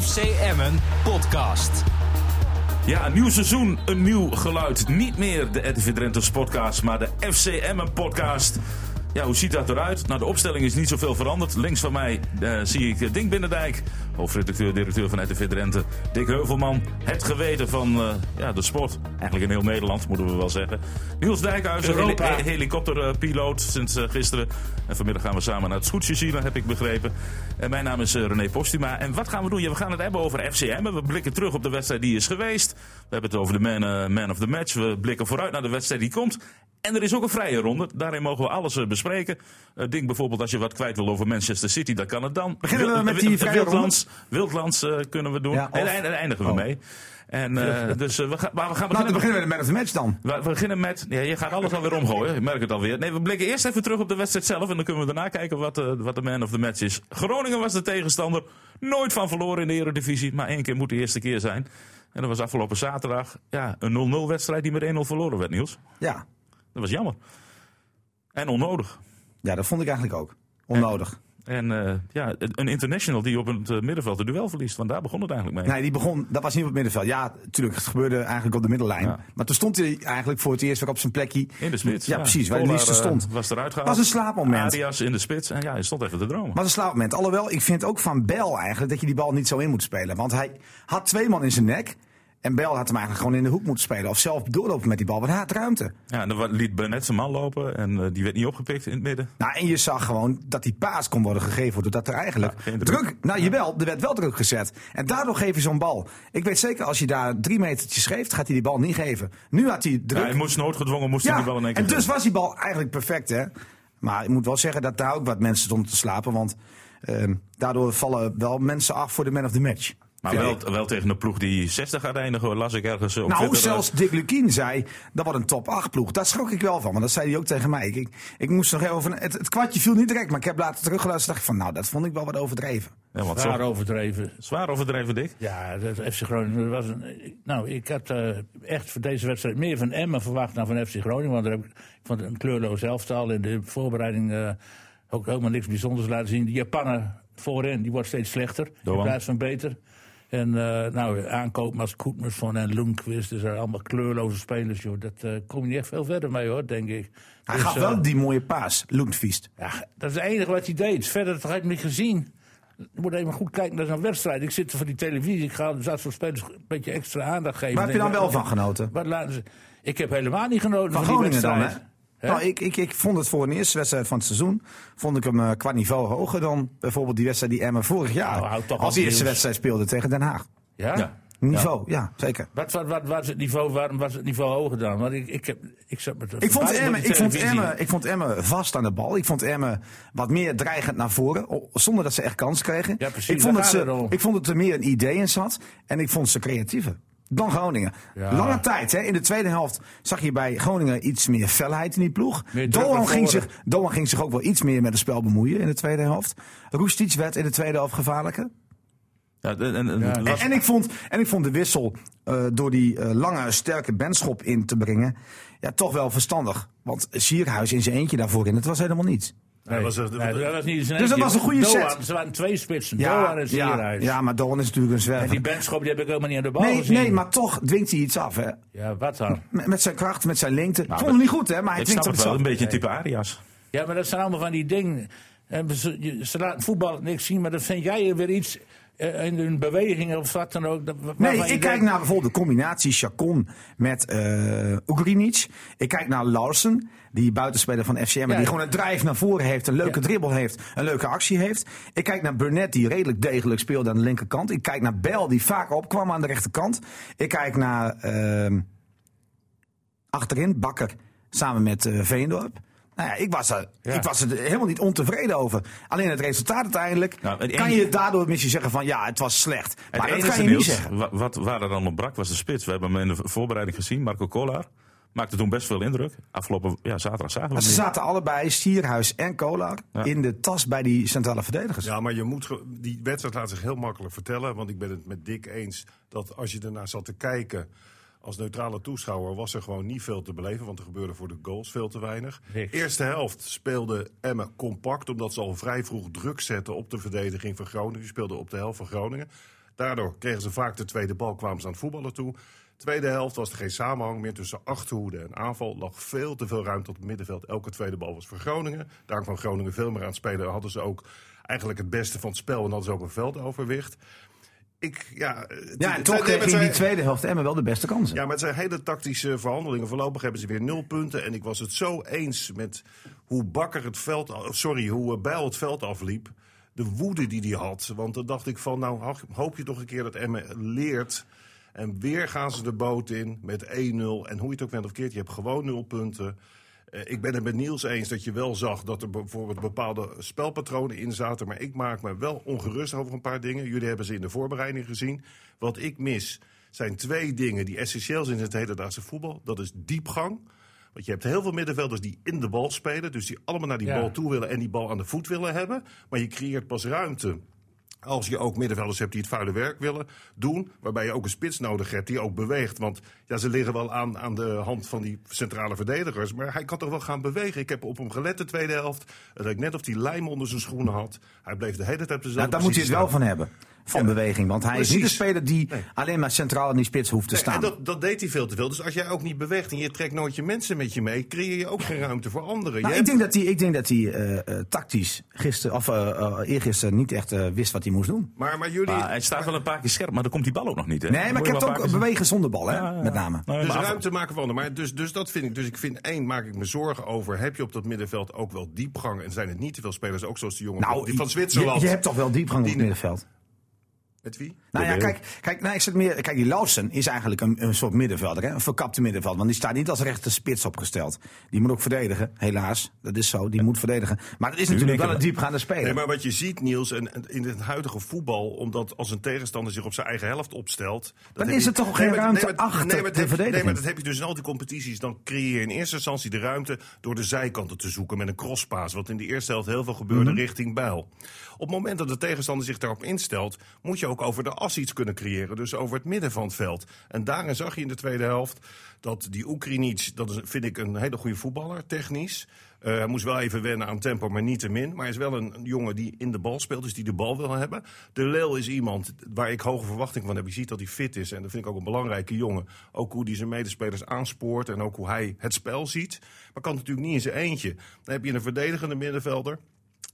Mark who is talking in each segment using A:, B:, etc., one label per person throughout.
A: FC Emmen podcast.
B: Ja, een nieuw seizoen, een nieuw geluid. Niet meer de RTV Drenthe podcast, maar de FC Emmen podcast. Ja, hoe ziet dat eruit? Nou, de opstelling is niet zoveel veranderd. Links van mij eh, zie ik eh, Dink Binnendijk, hoofdredacteur, directeur van RTV Drenthe. Dick Heuvelman, het geweten van eh, ja, de sport. Eigenlijk in heel Nederland, moeten we wel zeggen. Niels Dijkhuizen,
C: Europa.
B: heli- he- helikopterpiloot sinds eh, gisteren. En vanmiddag gaan we samen naar het Scootje zien, heb ik begrepen. En mijn naam is eh, René Postuma. En wat gaan we doen? Ja, we gaan het hebben over FCM. We blikken terug op de wedstrijd die is geweest. We hebben het over de man, eh, man of the match. We blikken vooruit naar de wedstrijd die komt. En er is ook een vrije ronde. Daarin mogen we alles eh, bespreken. Eh Ding bijvoorbeeld, als je wat kwijt wil over Manchester City, dan kan het dan.
C: Beginnen we
B: Wil-
C: met die
B: Wil-
C: vrije
B: Wildlands, Wildlands eh, kunnen we doen.
C: Ja, of-
B: en eind- en eindigen we
C: Oh.
B: mee. En, eh, dus, eh, we gaan, maar we gaan
C: Laten
B: beginnen
C: we
B: met-
C: beginnen met de man of the match dan.
B: we we beginnen met. Ja, je gaat alles alweer omgooien. Ik merk het alweer. Nee, we blikken eerst even terug op de wedstrijd zelf. En dan kunnen we daarna kijken wat, eh, wat de man of the match is. Groningen was de tegenstander. Nooit van verloren in de Eredivisie. Maar één keer moet de eerste keer zijn. En dat was afgelopen zaterdag. Ja, een 0-0 wedstrijd die met 1-0 verloren werd, Niels.
C: Ja.
B: Dat was jammer. En onnodig.
C: ja, dat vond ik eigenlijk ook. Onnodig.
B: En eh, ja, een international die op het eh, middenveld de duel verliest. Want daar begon het eigenlijk mee.
C: Nee, die begon, dat was niet op het middenveld. Ja, natuurlijk, het gebeurde eigenlijk op de middellijn.
B: Ja.
C: Maar toen stond hij eigenlijk voor het eerst weer op zijn plekje.
B: In de spits.
C: Ja, precies, waar hij
B: Kolar,
C: het liefst
B: eh,
C: stond.
B: Was eruit gehaald.
C: Was een slaapmoment.
B: Arias in de spits. En ja, hij stond even te dromen.
C: Maar een slaapmoment. Alhoewel, ik vind ook van Bel eigenlijk dat je die bal niet zo in moet spelen. Want hij had twee man in zijn nek. En Bel had hem eigenlijk gewoon in de hoek moeten spelen. Of zelf doorlopen met die bal, want hij had ruimte.
B: Ja, en dan wa- liet Burnett zijn man lopen en eh, die werd niet opgepikt in het midden.
C: Nou, en je zag gewoon dat die paas kon worden gegeven. Doordat er eigenlijk
B: Ja, geen
C: druk.
B: druk.
C: Nou, jawel, er werd wel druk gezet. En daardoor geef je zo'n bal. Ik weet zeker, als je daar drie metertjes geeft, gaat hij die bal niet geven. Nu had hij
B: Ja,
C: druk.
B: hij moest noodgedwongen, moest
C: Ja,
B: hij die bal in één keer
C: en dus
B: geven.
C: was die bal eigenlijk perfect, hè. Maar ik moet wel zeggen dat daar ook wat mensen stonden te slapen. Want ehm, daardoor vallen wel mensen af voor de man of the match.
B: Maar
C: Vind
B: wel,
C: ik.
B: wel tegen een ploeg die 60 gaat eindigen, las ik ergens eh, op
C: Nou,
B: Twitter, eh,
C: zelfs Dick Lukien zei, dat wordt een top 8 ploeg. Daar schrok ik wel van, maar dat zei hij ook tegen mij. Ik, ik, ik moest nog even, van- het, het kwartje viel niet direct, maar ik heb later teruggeluisterd en dacht ik van, nou, dat vond ik wel wat overdreven.
B: Ja, want
D: Zwaar
B: zo,
D: overdreven.
B: zwaar overdreven, dik.
D: Ja, dat FC Groningen dat was een. Nou, ik had eh, echt voor deze wedstrijd meer van Emmen verwacht dan van FC Groningen. Want daar heb ik, ik vond het een kleurloos elftal in de voorbereiding eh, ook helemaal niks bijzonders laten zien. Die Japaner voorin, die wordt steeds slechter
B: Doan.
D: in plaats van beter. En eh, nou, aankoopmars, van en Lundqvist, dus er allemaal kleurloze spelers, joh. Dat eh, kom je niet echt veel verder mee, hoor, denk ik.
C: Hij
D: Dus,
C: gaf
D: eh,
C: wel die mooie paas, Loentviest.
D: Ja, dat is het enige wat hij deed. Verder dat had ik hem niet gezien. Je moet even goed kijken naar zo'n wedstrijd. Ik zit voor die televisie. Ik ga dus dat soort spelers een beetje extra aandacht geven.
C: Waar heb je dan
D: Denk,
C: wel van genoten?
D: Wat laten ze... Ik heb helemaal niet genoten van,
C: Van
D: die
C: Groningen dan,
D: wedstrijd.
C: hè? Nou, ik, ik, ik vond het voor een eerste wedstrijd van het seizoen, vond ik hem eh, qua niveau hoger dan bijvoorbeeld die wedstrijd die Emmen vorig
D: Nou,
C: jaar
D: houd toch
C: als eerste
D: op, Niels.
C: wedstrijd speelde tegen Den Haag.
D: Ja?
B: Ja.
C: Niveau, ja, zeker.
D: Wat, wat, wat was het niveau, waarom was het niveau hoger dan? Want ik, ik, heb, ik zat met
C: Ik vond,
D: verbaasd
C: Emmen,
D: op die
C: ik, vond
D: televisie.
C: Emmen, ik vond Emmen vast aan de bal. Ik vond Emmen wat meer dreigend naar voren. o- Zonder dat ze echt kans kregen.
D: Ja, precies,
C: ik, vond
D: daar
C: dat
D: gaat het
C: ze,
D: om.
C: ik vond dat er meer een idee in zat. En ik vond ze creatiever dan Groningen.
D: Ja.
C: Lange tijd. Hè, in de tweede helft zag je bij Groningen iets meer felheid in die ploeg.
D: Meer druk
C: Doan
D: naar
C: ging,
D: voren.
C: zich, Doan ging zich ook wel iets meer met het spel bemoeien in de tweede helft. Roestic werd in de tweede helft gevaarlijker.
B: Ja, en, en, en-
C: En,
B: was-
C: en, ik vond, en ik vond de wissel eh, door die eh, lange, sterke benschop in te brengen. Ja, toch wel verstandig. Want Sierhuis in zijn eentje daarvoor in, het was helemaal niets.
D: Nee,
B: was het-
D: nee, dat was niet eens een
C: Dus dat
D: eentje.
C: was een goede
D: Doan,
C: set.
D: Ze waren twee spitsen. Doan en
C: ja,
D: Sierhuis.
C: ja, maar Doan is natuurlijk een
D: En die
C: zwerver.
D: benschop die heb ik helemaal niet aan de bal
C: Nee,
D: gezien.
C: nee, maar toch dwingt hij iets af. Hè.
D: Ja, wat dan?
C: Met, met zijn kracht, met zijn lengte. Ik
B: maar-
C: vond hem niet goed, hè, maar hij
B: Nou, ik snap
C: dwingt op
B: het
C: iets
B: wel,
C: af.
B: een beetje type Arias.
D: Ja, maar dat zijn allemaal van die dingen. En ze, je- ze laten voetbal niks zien, maar dan vind jij weer iets eh, in hun bewegingen of wat dan ook. dat- wa-
C: Nee,
D: waarvan je
C: ik kijk
D: denkt-
C: naar bijvoorbeeld de combinatie Chacon met eh Ugrinic. Ik kijk naar Larsen, die buitenspeler van FCM.
D: Ja.
C: Die gewoon een drijf naar voren heeft, een leuke
D: Ja.
C: dribbel heeft, een leuke actie heeft. Ik kijk naar Burnett, die redelijk degelijk speelde aan de linkerkant. Ik kijk naar Bell, die vaak opkwam aan de rechterkant. Ik kijk naar ehm, achterin, Bakker, samen met eh, Veendorp. Nou ja, ik was, er,
D: Ja.
C: ik was er helemaal niet ontevreden over. Alleen het resultaat uiteindelijk.
B: Nou, het
C: kan
B: enige-
C: je daardoor misschien zeggen van ja, het was slecht.
B: Het
C: Maar dat
B: enige
C: kan je niet
B: nieuws
C: zeggen.
B: wa- Wat, waar er dan op brak was de spits. We hebben hem in de voorbereiding gezien. Marco Kolar maakte toen best veel indruk. Afgelopen ja, zaterdag zagen we
C: Maar
B: hem
C: ze
B: niet.
C: zaten allebei, Stierhuis en Kolar,
B: Ja.
C: in de tas bij die centrale verdedigers.
E: Ja, maar je moet ge- die wedstrijd laat zich heel makkelijk vertellen. Want ik ben het met Dick eens dat als je ernaar zat te kijken. Als neutrale toeschouwer was er gewoon niet veel te beleven, want er gebeurde voor de goals veel te weinig.
D: Niks.
E: Eerste helft speelde Emmen compact, omdat ze al vrij vroeg druk zetten op de verdediging van Groningen. Die speelde op de helft van Groningen. Daardoor kregen ze vaak de tweede bal, kwamen ze aan het voetballen toe. Tweede helft was er geen samenhang meer tussen achterhoede en aanval. Lag veel te veel ruimte op het middenveld. Elke tweede bal was voor Groningen. Daar kwam Groningen veel meer aan het spelen. Hadden ze ook eigenlijk het beste van het spel en hadden ze ook een veldoverwicht. Ik, ja,
C: Ja,
E: het-
C: en toch
E: het- nee, maar het
C: kreeg in
E: zijn-
C: die tweede helft Emmen wel de beste kansen. Nou,
E: ja, maar het zijn hele tactische verhandelingen. Voorlopig hebben ze weer nul punten. En ik was het zo eens met hoe Bakker het veld, af- sorry, hoe eh, Bijl het veld afliep. De woede die hij had. Want dan dacht ik van, nou ho- hoop je toch een keer dat Emmen leert. En weer gaan ze de boot in met 1-0. En hoe je het ook bent of keert, je hebt gewoon nul punten. Eh, Ik ben het met Niels eens dat je wel zag dat er bijvoorbeeld bepaalde spelpatronen in zaten. Maar ik maak me wel ongerust over een paar dingen. Jullie hebben ze in de voorbereiding gezien. Wat ik mis zijn twee dingen die essentieel zijn in het hedendaagse voetbal. Dat is diepgang. Want je hebt heel veel middenvelders die in de bal spelen. Dus die allemaal naar die
D: Ja.
E: bal toe willen en die bal aan de voet willen hebben. Maar je creëert pas ruimte als je ook middenvelders hebt die het vuile werk willen doen. Waarbij je ook een spits nodig hebt die ook beweegt. Want ja, ze liggen wel aan, aan de hand van die centrale verdedigers. Maar hij kan toch wel gaan bewegen. Ik heb op hem gelet de tweede helft. Het leek net of hij lijm onder zijn schoenen had. Hij bleef de hele tijd op dezelfde
C: Nou, daar moet hij het wel van hebben. Van beweging. Want hij is niet een
E: Precies.
C: speler die
E: Nee.
C: alleen maar centraal in die spits hoeft te
E: Nee,
C: staan.
E: En dat, dat deed hij veel te veel. Dus als jij ook niet beweegt en je trekt nooit je mensen met je mee, creëer je ook geen ruimte voor
C: Nou,
E: anderen. Je
C: ik
E: hebt-
C: denk dat hij, ik denk dat hij eh, eh, tactisch gisteren, of eh, eh, eergisteren niet echt eh, wist wat hij moest doen.
E: maar, maar jullie.
B: Maar hij staat wel een paar keer scherp, maar dan komt die bal ook nog niet. Hè?
C: Nee, maar ik heb het ook
B: bewezen.
C: bewegen zonder bal, hè, met name.
B: Nee,
E: Dus
B: maar af-
E: ruimte maken van anderen. Maar dus, dus dat vind ik. Dus ik vind één, maak ik me zorgen over. Heb je op dat middenveld ook wel diepgang? En zijn het niet te veel spelers, ook zoals de jongen van-
C: Nou,
E: van Zwitserland?
C: Je, je hebt toch wel diepgang op het
E: Die-
C: middenveld?
E: Met wie?
C: Nou ja,
B: Jawel.
C: kijk, kijk, nou, ik zit meer, kijk die Lausen is eigenlijk een, een soort middenvelder, hè? een verkapte middenvelder. Want die staat niet als rechter spits opgesteld. Die moet ook verdedigen, helaas. Dat is zo, die moet verdedigen. Maar dat is natuurlijk
B: denk ik
C: wel een diepgaande speler.
E: Nee, maar wat je ziet, Niels, en, en in het huidige voetbal, omdat als een tegenstander zich op zijn eigen helft opstelt. dat
C: Dan
E: heb
C: is
E: je-
C: er toch
E: Nee,
C: geen
E: maar- nee,
C: ruimte
E: maar-
C: achter
E: nee, maar dat
C: de
E: heb je- Nee, maar
C: verdediging?
E: dat heb je dus in al die competities. Dan creëer je in eerste instantie de ruimte door de zijkanten te zoeken met een crosspaas. Wat in de eerste helft heel veel gebeurde
C: Mhm.
E: richting Bijl. Op het moment dat de tegenstander zich daarop instelt, moet je ook over de as iets kunnen creëren. Dus over het midden van het veld. En daarin zag je in de tweede helft dat die Oekrinic, dat is, vind ik een hele goede voetballer, technisch. Eh, hij moest wel even wennen aan tempo, maar niet te min. Maar hij is wel een, een jongen die in de bal speelt, dus die de bal wil hebben. De Leel is iemand waar ik hoge verwachting van heb. Je ziet dat hij fit is en dat vind ik ook een belangrijke jongen. Ook hoe hij zijn medespelers aanspoort en ook hoe hij het spel ziet. Maar kan natuurlijk niet in zijn eentje. Dan heb je een verdedigende middenvelder.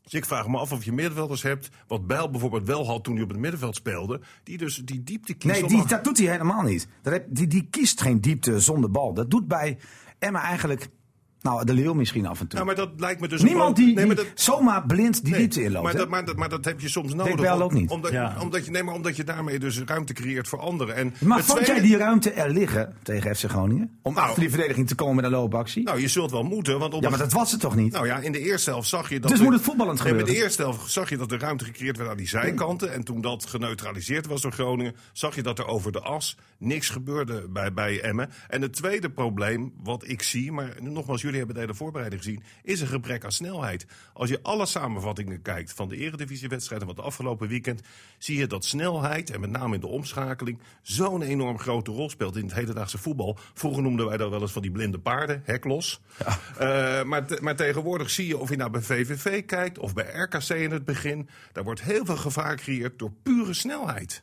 E: Dus ik vraag me af of je middenvelders hebt, wat Bijl bijvoorbeeld wel had toen hij op het middenveld speelde. Die dus die diepte kiest
C: Nee,
E: om
C: die,
E: achter-
C: dat doet hij helemaal niet. Dat heb- die, die kiest geen diepte zonder bal. Dat doet bij Emma eigenlijk, nou, de Leeuw misschien af en toe.
E: Nou, maar dat lijkt me dus
C: Niemand
E: gewoon-
C: die,
E: Nee, maar
C: die
E: dat-
C: zomaar blind die
E: Nee,
C: diepte inloopt.
E: Maar
C: hè?
E: dat, maar, dat, maar dat heb je soms nodig.
C: Bijl
E: om-
C: ook niet.
E: Omdat,
D: Ja.
E: omdat, je, nee, maar omdat je daarmee dus ruimte creëert voor anderen. En
C: Maar
E: het
C: vond
E: tweede-
C: jij die ruimte er liggen tegen FC Groningen? Om
E: Nou.
C: achter die verdediging te komen met een loopactie?
E: Nou, je zult wel moeten. Want op
C: ja,
E: een-
C: maar dat was het toch niet?
E: Nou ja, in de eerste helft zag je dat.
C: Dus
E: er-
C: moet het voetballend
E: Nee, maar In de
C: gebeuren?
E: eerste helft zag je dat de ruimte gecreëerd werd aan die zijkanten. En toen dat geneutraliseerd was door Groningen, zag je dat er over de as niks gebeurde bij, bij Emmen. En het tweede probleem, wat ik zie, maar nogmaals, jullie hebben de hele voorbereiding gezien, is een gebrek aan snelheid. Als je alle samenvattingen kijkt van de eredivisiewedstrijden van het afgelopen weekend, zie je dat snelheid, en met name in de omschakeling, zo'n enorm grote rol speelt in het hedendaagse voetbal. Vroeger noemden wij dat wel eens van die blinde paarden, heklos. Eh, maar, te- maar tegenwoordig zie je of je nou bij VVV kijkt of bij RKC in het begin. Daar wordt heel veel gevaar gecreëerd door pure snelheid.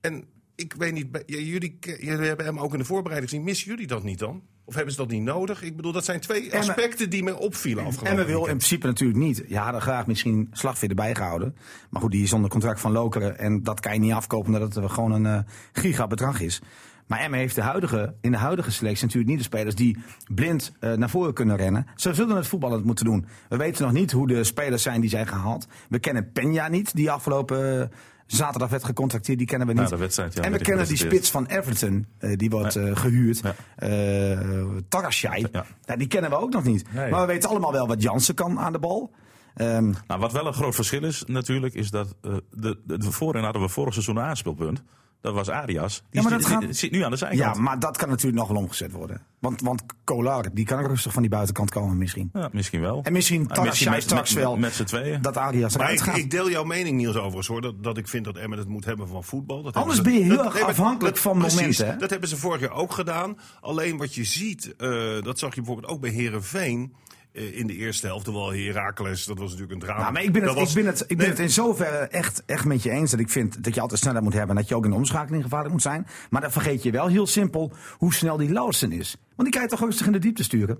E: En ik weet niet, bij- ja, jullie, ke- jullie hebben hem ook in de voorbereiding gezien. Missen jullie dat niet dan? Of hebben ze dat niet nodig? Ik bedoel, dat zijn twee
C: Emma-
E: aspecten die me opvielen afgelopen
C: En we wil in
E: weekend.
C: principe natuurlijk niet. Ja, hadden graag misschien Slagveer erbij gehouden. Maar goed, die is onder contract van Lokeren. En dat kan je niet afkopen omdat het gewoon een eh, gigabedrag is. Maar Emmen heeft de huidige, in de huidige selectie natuurlijk niet de spelers die blind eh, naar voren kunnen rennen. Ze zullen het voetballend moeten doen. We weten nog niet hoe de spelers zijn die zijn gehaald. We kennen Peña niet, die afgelopen eh, zaterdag werd gecontracteerd. Die kennen we niet.
B: de wedstrijd, ja,
C: en we
B: werd hij
C: kennen die
B: gepresenteerd.
C: spits van Everton, eh, die wordt eh, gehuurd.
B: Ja.
C: Eh, Tarasjai.
B: Ja.
C: Nou, die kennen we ook nog niet.
D: Nee.
C: Maar we weten allemaal wel wat Jansen kan aan de bal. Ehm,
B: Nou, wat wel een groot verschil is natuurlijk, is dat eh de, de, de voorin hadden we vorig seizoen een aanspeelpunt. Dat was Arias. Die
C: Ja, maar
B: zit-
C: dat
B: zit-
C: gaat-
B: zit nu aan de zijkant.
C: ja, maar dat kan natuurlijk nog wel omgezet worden. Want, want Kolar, die kan ook rustig van die buitenkant komen misschien.
B: Ja, misschien wel.
C: En misschien
B: Maar misschien
C: Tarasjai
B: Nou, met-
C: straks
B: met-
C: wel.
B: Met z'n tweeën.
C: Dat Arias
E: Maar
C: eruit
E: ik,
C: gaat.
E: ik deel jouw mening, Niels, overigens hoor. Dat, dat ik vind dat Emmen het moet hebben van voetbal. Dat
C: Anders
E: hebben ze-
C: ben je heel
E: dat-
C: erg
E: nee, maar
C: afhankelijk van
E: precies,
C: momenten, hè?
E: Dat hebben ze vorig jaar ook gedaan. Alleen wat je ziet, eh, dat zag je bijvoorbeeld ook bij Herenveen. eh, in de eerste helft. Terwijl Herakles, dat was natuurlijk een drama.
C: Nou, maar ik ben, het,
E: Dat was-
C: ik ben, het, ik ben
E: Nee,
C: het in zoverre echt, echt met je eens. Dat ik vind dat je altijd snelheid moet hebben. En dat je ook in de omschakeling gevaarlijk moet zijn. Maar dan vergeet je wel heel simpel hoe snel die Lausen is. Want die kan je toch rustig in de diepte sturen.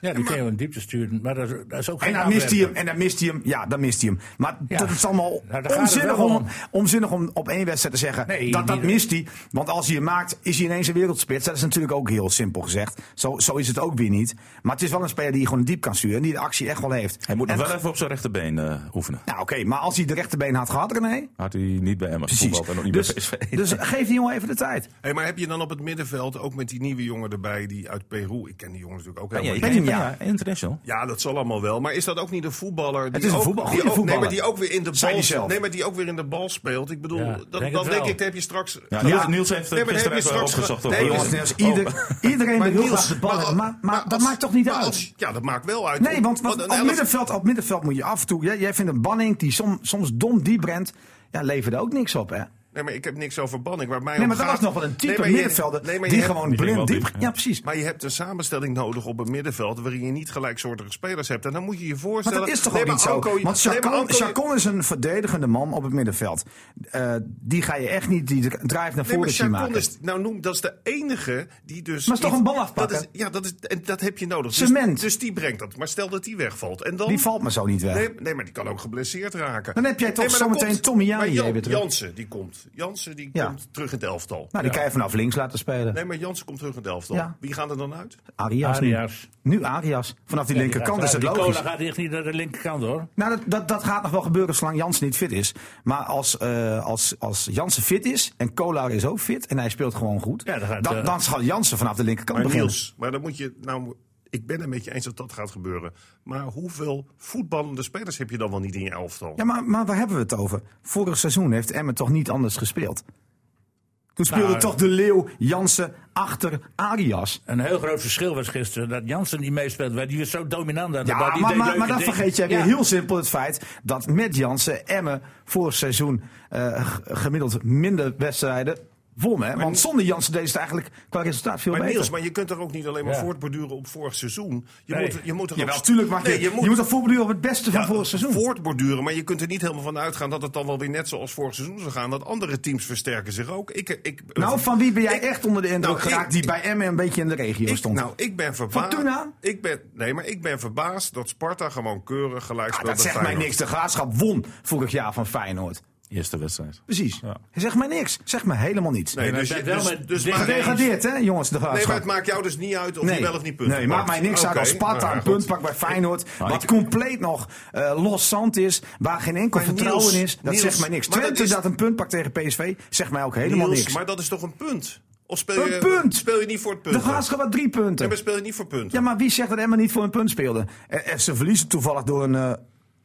D: Ja, die kun je wel in diepte sturen. Maar dat is, dat is ook geen
C: En dan mist hij hem.
D: aanwerper.
C: En dan mist hij hem. Ja, dan mist hij hem. Maar
D: Ja.
C: dat is allemaal
D: Nou, daar gaat het
C: onzinnig,
D: wel
C: om,
D: om.
C: onzinnig om op één wedstrijd te zeggen
D: Nee,
C: dat dat
D: die-
C: mist hij. Want als hij hem maakt, is hij ineens een wereldspits. Dat is natuurlijk ook heel simpel gezegd. Zo, zo is het ook weer niet. Maar het is wel een speler die je gewoon diep kan sturen. En die de actie echt wel heeft.
B: Hij moet
C: En-
B: nog wel even op zijn rechterbeen eh, oefenen.
C: Nou oké, maar als hij de rechterbeen had gehad, René,
B: Had hij niet bij Emma
C: Precies.
B: voetbal en nog niet
C: dus,
B: bij PSV.
C: dus geef die jongen even de tijd.
E: Hey, maar heb je dan op het middenveld ook met die nieuwe jongen erbij die uit Peru. Ik ken die jongen natuurlijk ook
B: ja,
E: helemaal
B: ik
E: niet.
B: ken
C: hem,
B: hem,
C: ja.
B: ja, international.
E: Ja, dat zal allemaal wel. Maar is dat ook niet een voetballer? Die
C: is een
E: ook,
C: voetbal-
E: die
C: goede
E: ook-
C: voetballer.
E: Nee, maar die ook weer in de
C: Zei
E: bal
C: hij zelf.
E: speelt. Nee, maar die ook weer in de bal speelt. Ik bedoel,
D: Ja,
E: dat,
D: denk
E: dan
D: het
E: denk
D: wel.
E: ik, dat heb je straks.
B: Ja,
E: Nee,
B: Niels, Niels heeft
E: maar
B: nee,
E: dan heb
B: gisteren
E: je
B: even
E: straks ge-
B: opgezocht. of-
E: Nee,
B: of-
E: jongens,
C: Jongens, Niels,
B: Oh,
C: ieder, iedereen wil heel
E: Niels-
C: graag de bal
E: maar-
C: hebben, maar, maar, dat
E: als-
C: maakt toch niet
E: maar
C: uit?
E: als- ja, dat maakt wel uit.
C: nee, want, want
E: een
C: op,
E: elf-
C: middenveld, op middenveld moet je af en toe... Jij, jij vindt een banning die som- soms dom diep rent, ja, leverde ook niks op, hè?
E: Nee, maar ik heb niks over banning. Waar mij
C: Nee,
E: om
C: maar dat
E: gaat-
C: was nog wel een type
E: maar je-
C: middenvelder
E: nee, maar je
C: die
E: hebt-
C: gewoon
B: Die ging
C: blind
B: wel
C: diep...
B: diep, ja.
C: Ja, precies.
E: Maar je hebt een samenstelling nodig op een middenveld waarin je niet gelijksoortige spelers hebt. En dan moet je je
C: Maar
E: voorstellen.
C: dat is toch
E: Nee,
C: ook
E: maar
C: niet zo?
E: Anko-
C: Want
E: nee, maar
C: Chacon,
E: Anko-
C: Chacon is een verdedigende man op het middenveld. Eh, die ga je echt niet, die drijft naar
E: Nee,
C: voren
E: maar
C: zien
E: Chacon
C: maken.
E: is, nou noem, dat is de enige die dus...
C: Maar is toch
E: niet-
C: een bal afpakken?
E: Dat is, ja, dat, is, en dat heb je nodig.
C: Cement.
E: Dus, dus die brengt dat. Maar stel dat die wegvalt. En dan,
C: Die valt maar zo niet weg.
E: Nee, nee, maar die kan ook geblesseerd raken.
C: Dan heb jij toch
E: maar dan
C: zometeen
E: komt-
C: Tommy Jaye
E: maar Jan-
C: weer terug.
E: Jansen, die komt. Jansen, die
C: Ja.
E: komt terug in het elftal.
C: Nou, die kan je vanaf links laten spelen.
E: Nee, maar Jansen komt terug in het elftal.
C: Ja.
E: Wie gaan er dan uit?
C: Arias. nu.
D: Arias.
C: Nu Arias. Vanaf die linkerkant is het
D: Die
C: logisch.
D: cola gaat echt niet naar de linkerkant hoor.
C: Nou, dat, dat, dat gaat nog wel gebeuren zolang Jansen niet fit is. Maar als, eh, als, als Jansen fit is en Kolar is ook fit en hij speelt gewoon goed,
D: Ja, dan
C: dan,
D: gaat,
C: dan,
D: eh,
C: zal Jansen vanaf de linkerkant
E: Maar
C: beginnen.
E: Niels, maar dan moet je... Nou, ik ben het met je eens dat dat gaat gebeuren. Maar hoeveel voetballende spelers heb je dan wel niet in je elftal?
C: Ja, maar, maar waar hebben we het over? Vorig seizoen heeft Emmen toch niet anders gespeeld? Toen speelde
D: Nou,
C: toch de Leeuw Jansen achter Arias.
D: Een heel groot verschil was gisteren dat Jansen niet meespeelt. want Die was zo dominant aan de
C: Ja,
D: bal.
C: maar,
D: Die
C: maar,
D: deed
C: maar,
D: leuke
C: dat
D: dingen.
C: vergeet jij weer
D: Ja.
C: heel simpel het feit dat met Jansen Emmen vorig seizoen eh, g- gemiddeld minder wedstrijden won. Hè? Want zonder Jansen deed het eigenlijk qua resultaat veel
E: Maar
C: beter.
E: Niels, maar je kunt er ook niet alleen maar
D: Ja.
E: voortborduren op vorig seizoen. Je
D: Nee.
E: moet, je moet er
C: Jawel,
E: ook-
C: tuurlijk mag
E: Nee,
C: je, je moet, dat voorbeduren op het beste van
E: ja,
C: vorig seizoen.
E: voortborduren, maar je kunt er niet helemaal van uitgaan dat het dan wel weer net zoals vorig seizoen zal gaan. Dat andere teams versterken zich ook. Ik, ik,
C: nou, van wie ben jij echt onder de indruk
E: Nou, ik-
C: geraakt die bij Emmen een beetje in de regio
E: ik,
C: stond?
E: nou, ik ben verbaasd.
C: Fortuna?
E: Ik ben, nee, maar ik ben verbaasd dat Sparta gewoon keurig gelijk
C: Ah,
E: speelt.
C: dat
E: met
C: zegt mij
E: Feyenoord.
C: niks. De Graafschap won vorig jaar van Feyenoord.
B: Eerste wedstrijd.
C: Precies. Zeg mij niks. Zeg me helemaal niets.
E: Nee,
D: maar
E: dus,
D: het
E: je-
D: bent
E: dus,
D: wel
E: dus,
D: met dicht
E: maar-
C: Gedegradeerd, hè, jongens, de
E: Nee,
C: Graafschap.
E: maar het maakt jou dus niet uit of je wel of niet punten
C: Nee, maakt mij niks uit
E: Oké,
C: als Sparta
E: nou ja,
C: een
E: goed.
C: punt pakt bij Feyenoord. wat
B: ik-
C: compleet nog eh, los zand is. Waar geen enkel
E: Maar
C: vertrouwen
E: Niels,
C: is. Dat
E: Niels,
C: zegt mij niks.
E: maar dat
C: Twente dat,
E: is-
C: een punt pakt tegen PSV. Zegt mij ook helemaal
E: Niels,
C: niks.
E: Maar dat is toch een punt? Of speel
C: Een
E: je,
C: punt!
E: Speel je niet voor het punt?
C: de Graafschap had drie punten.
E: Nee, maar speel je niet voor punten?
C: Ja, maar wie zegt dat Emma niet voor een punt speelde? Eh, Ze verliezen toevallig door een eh,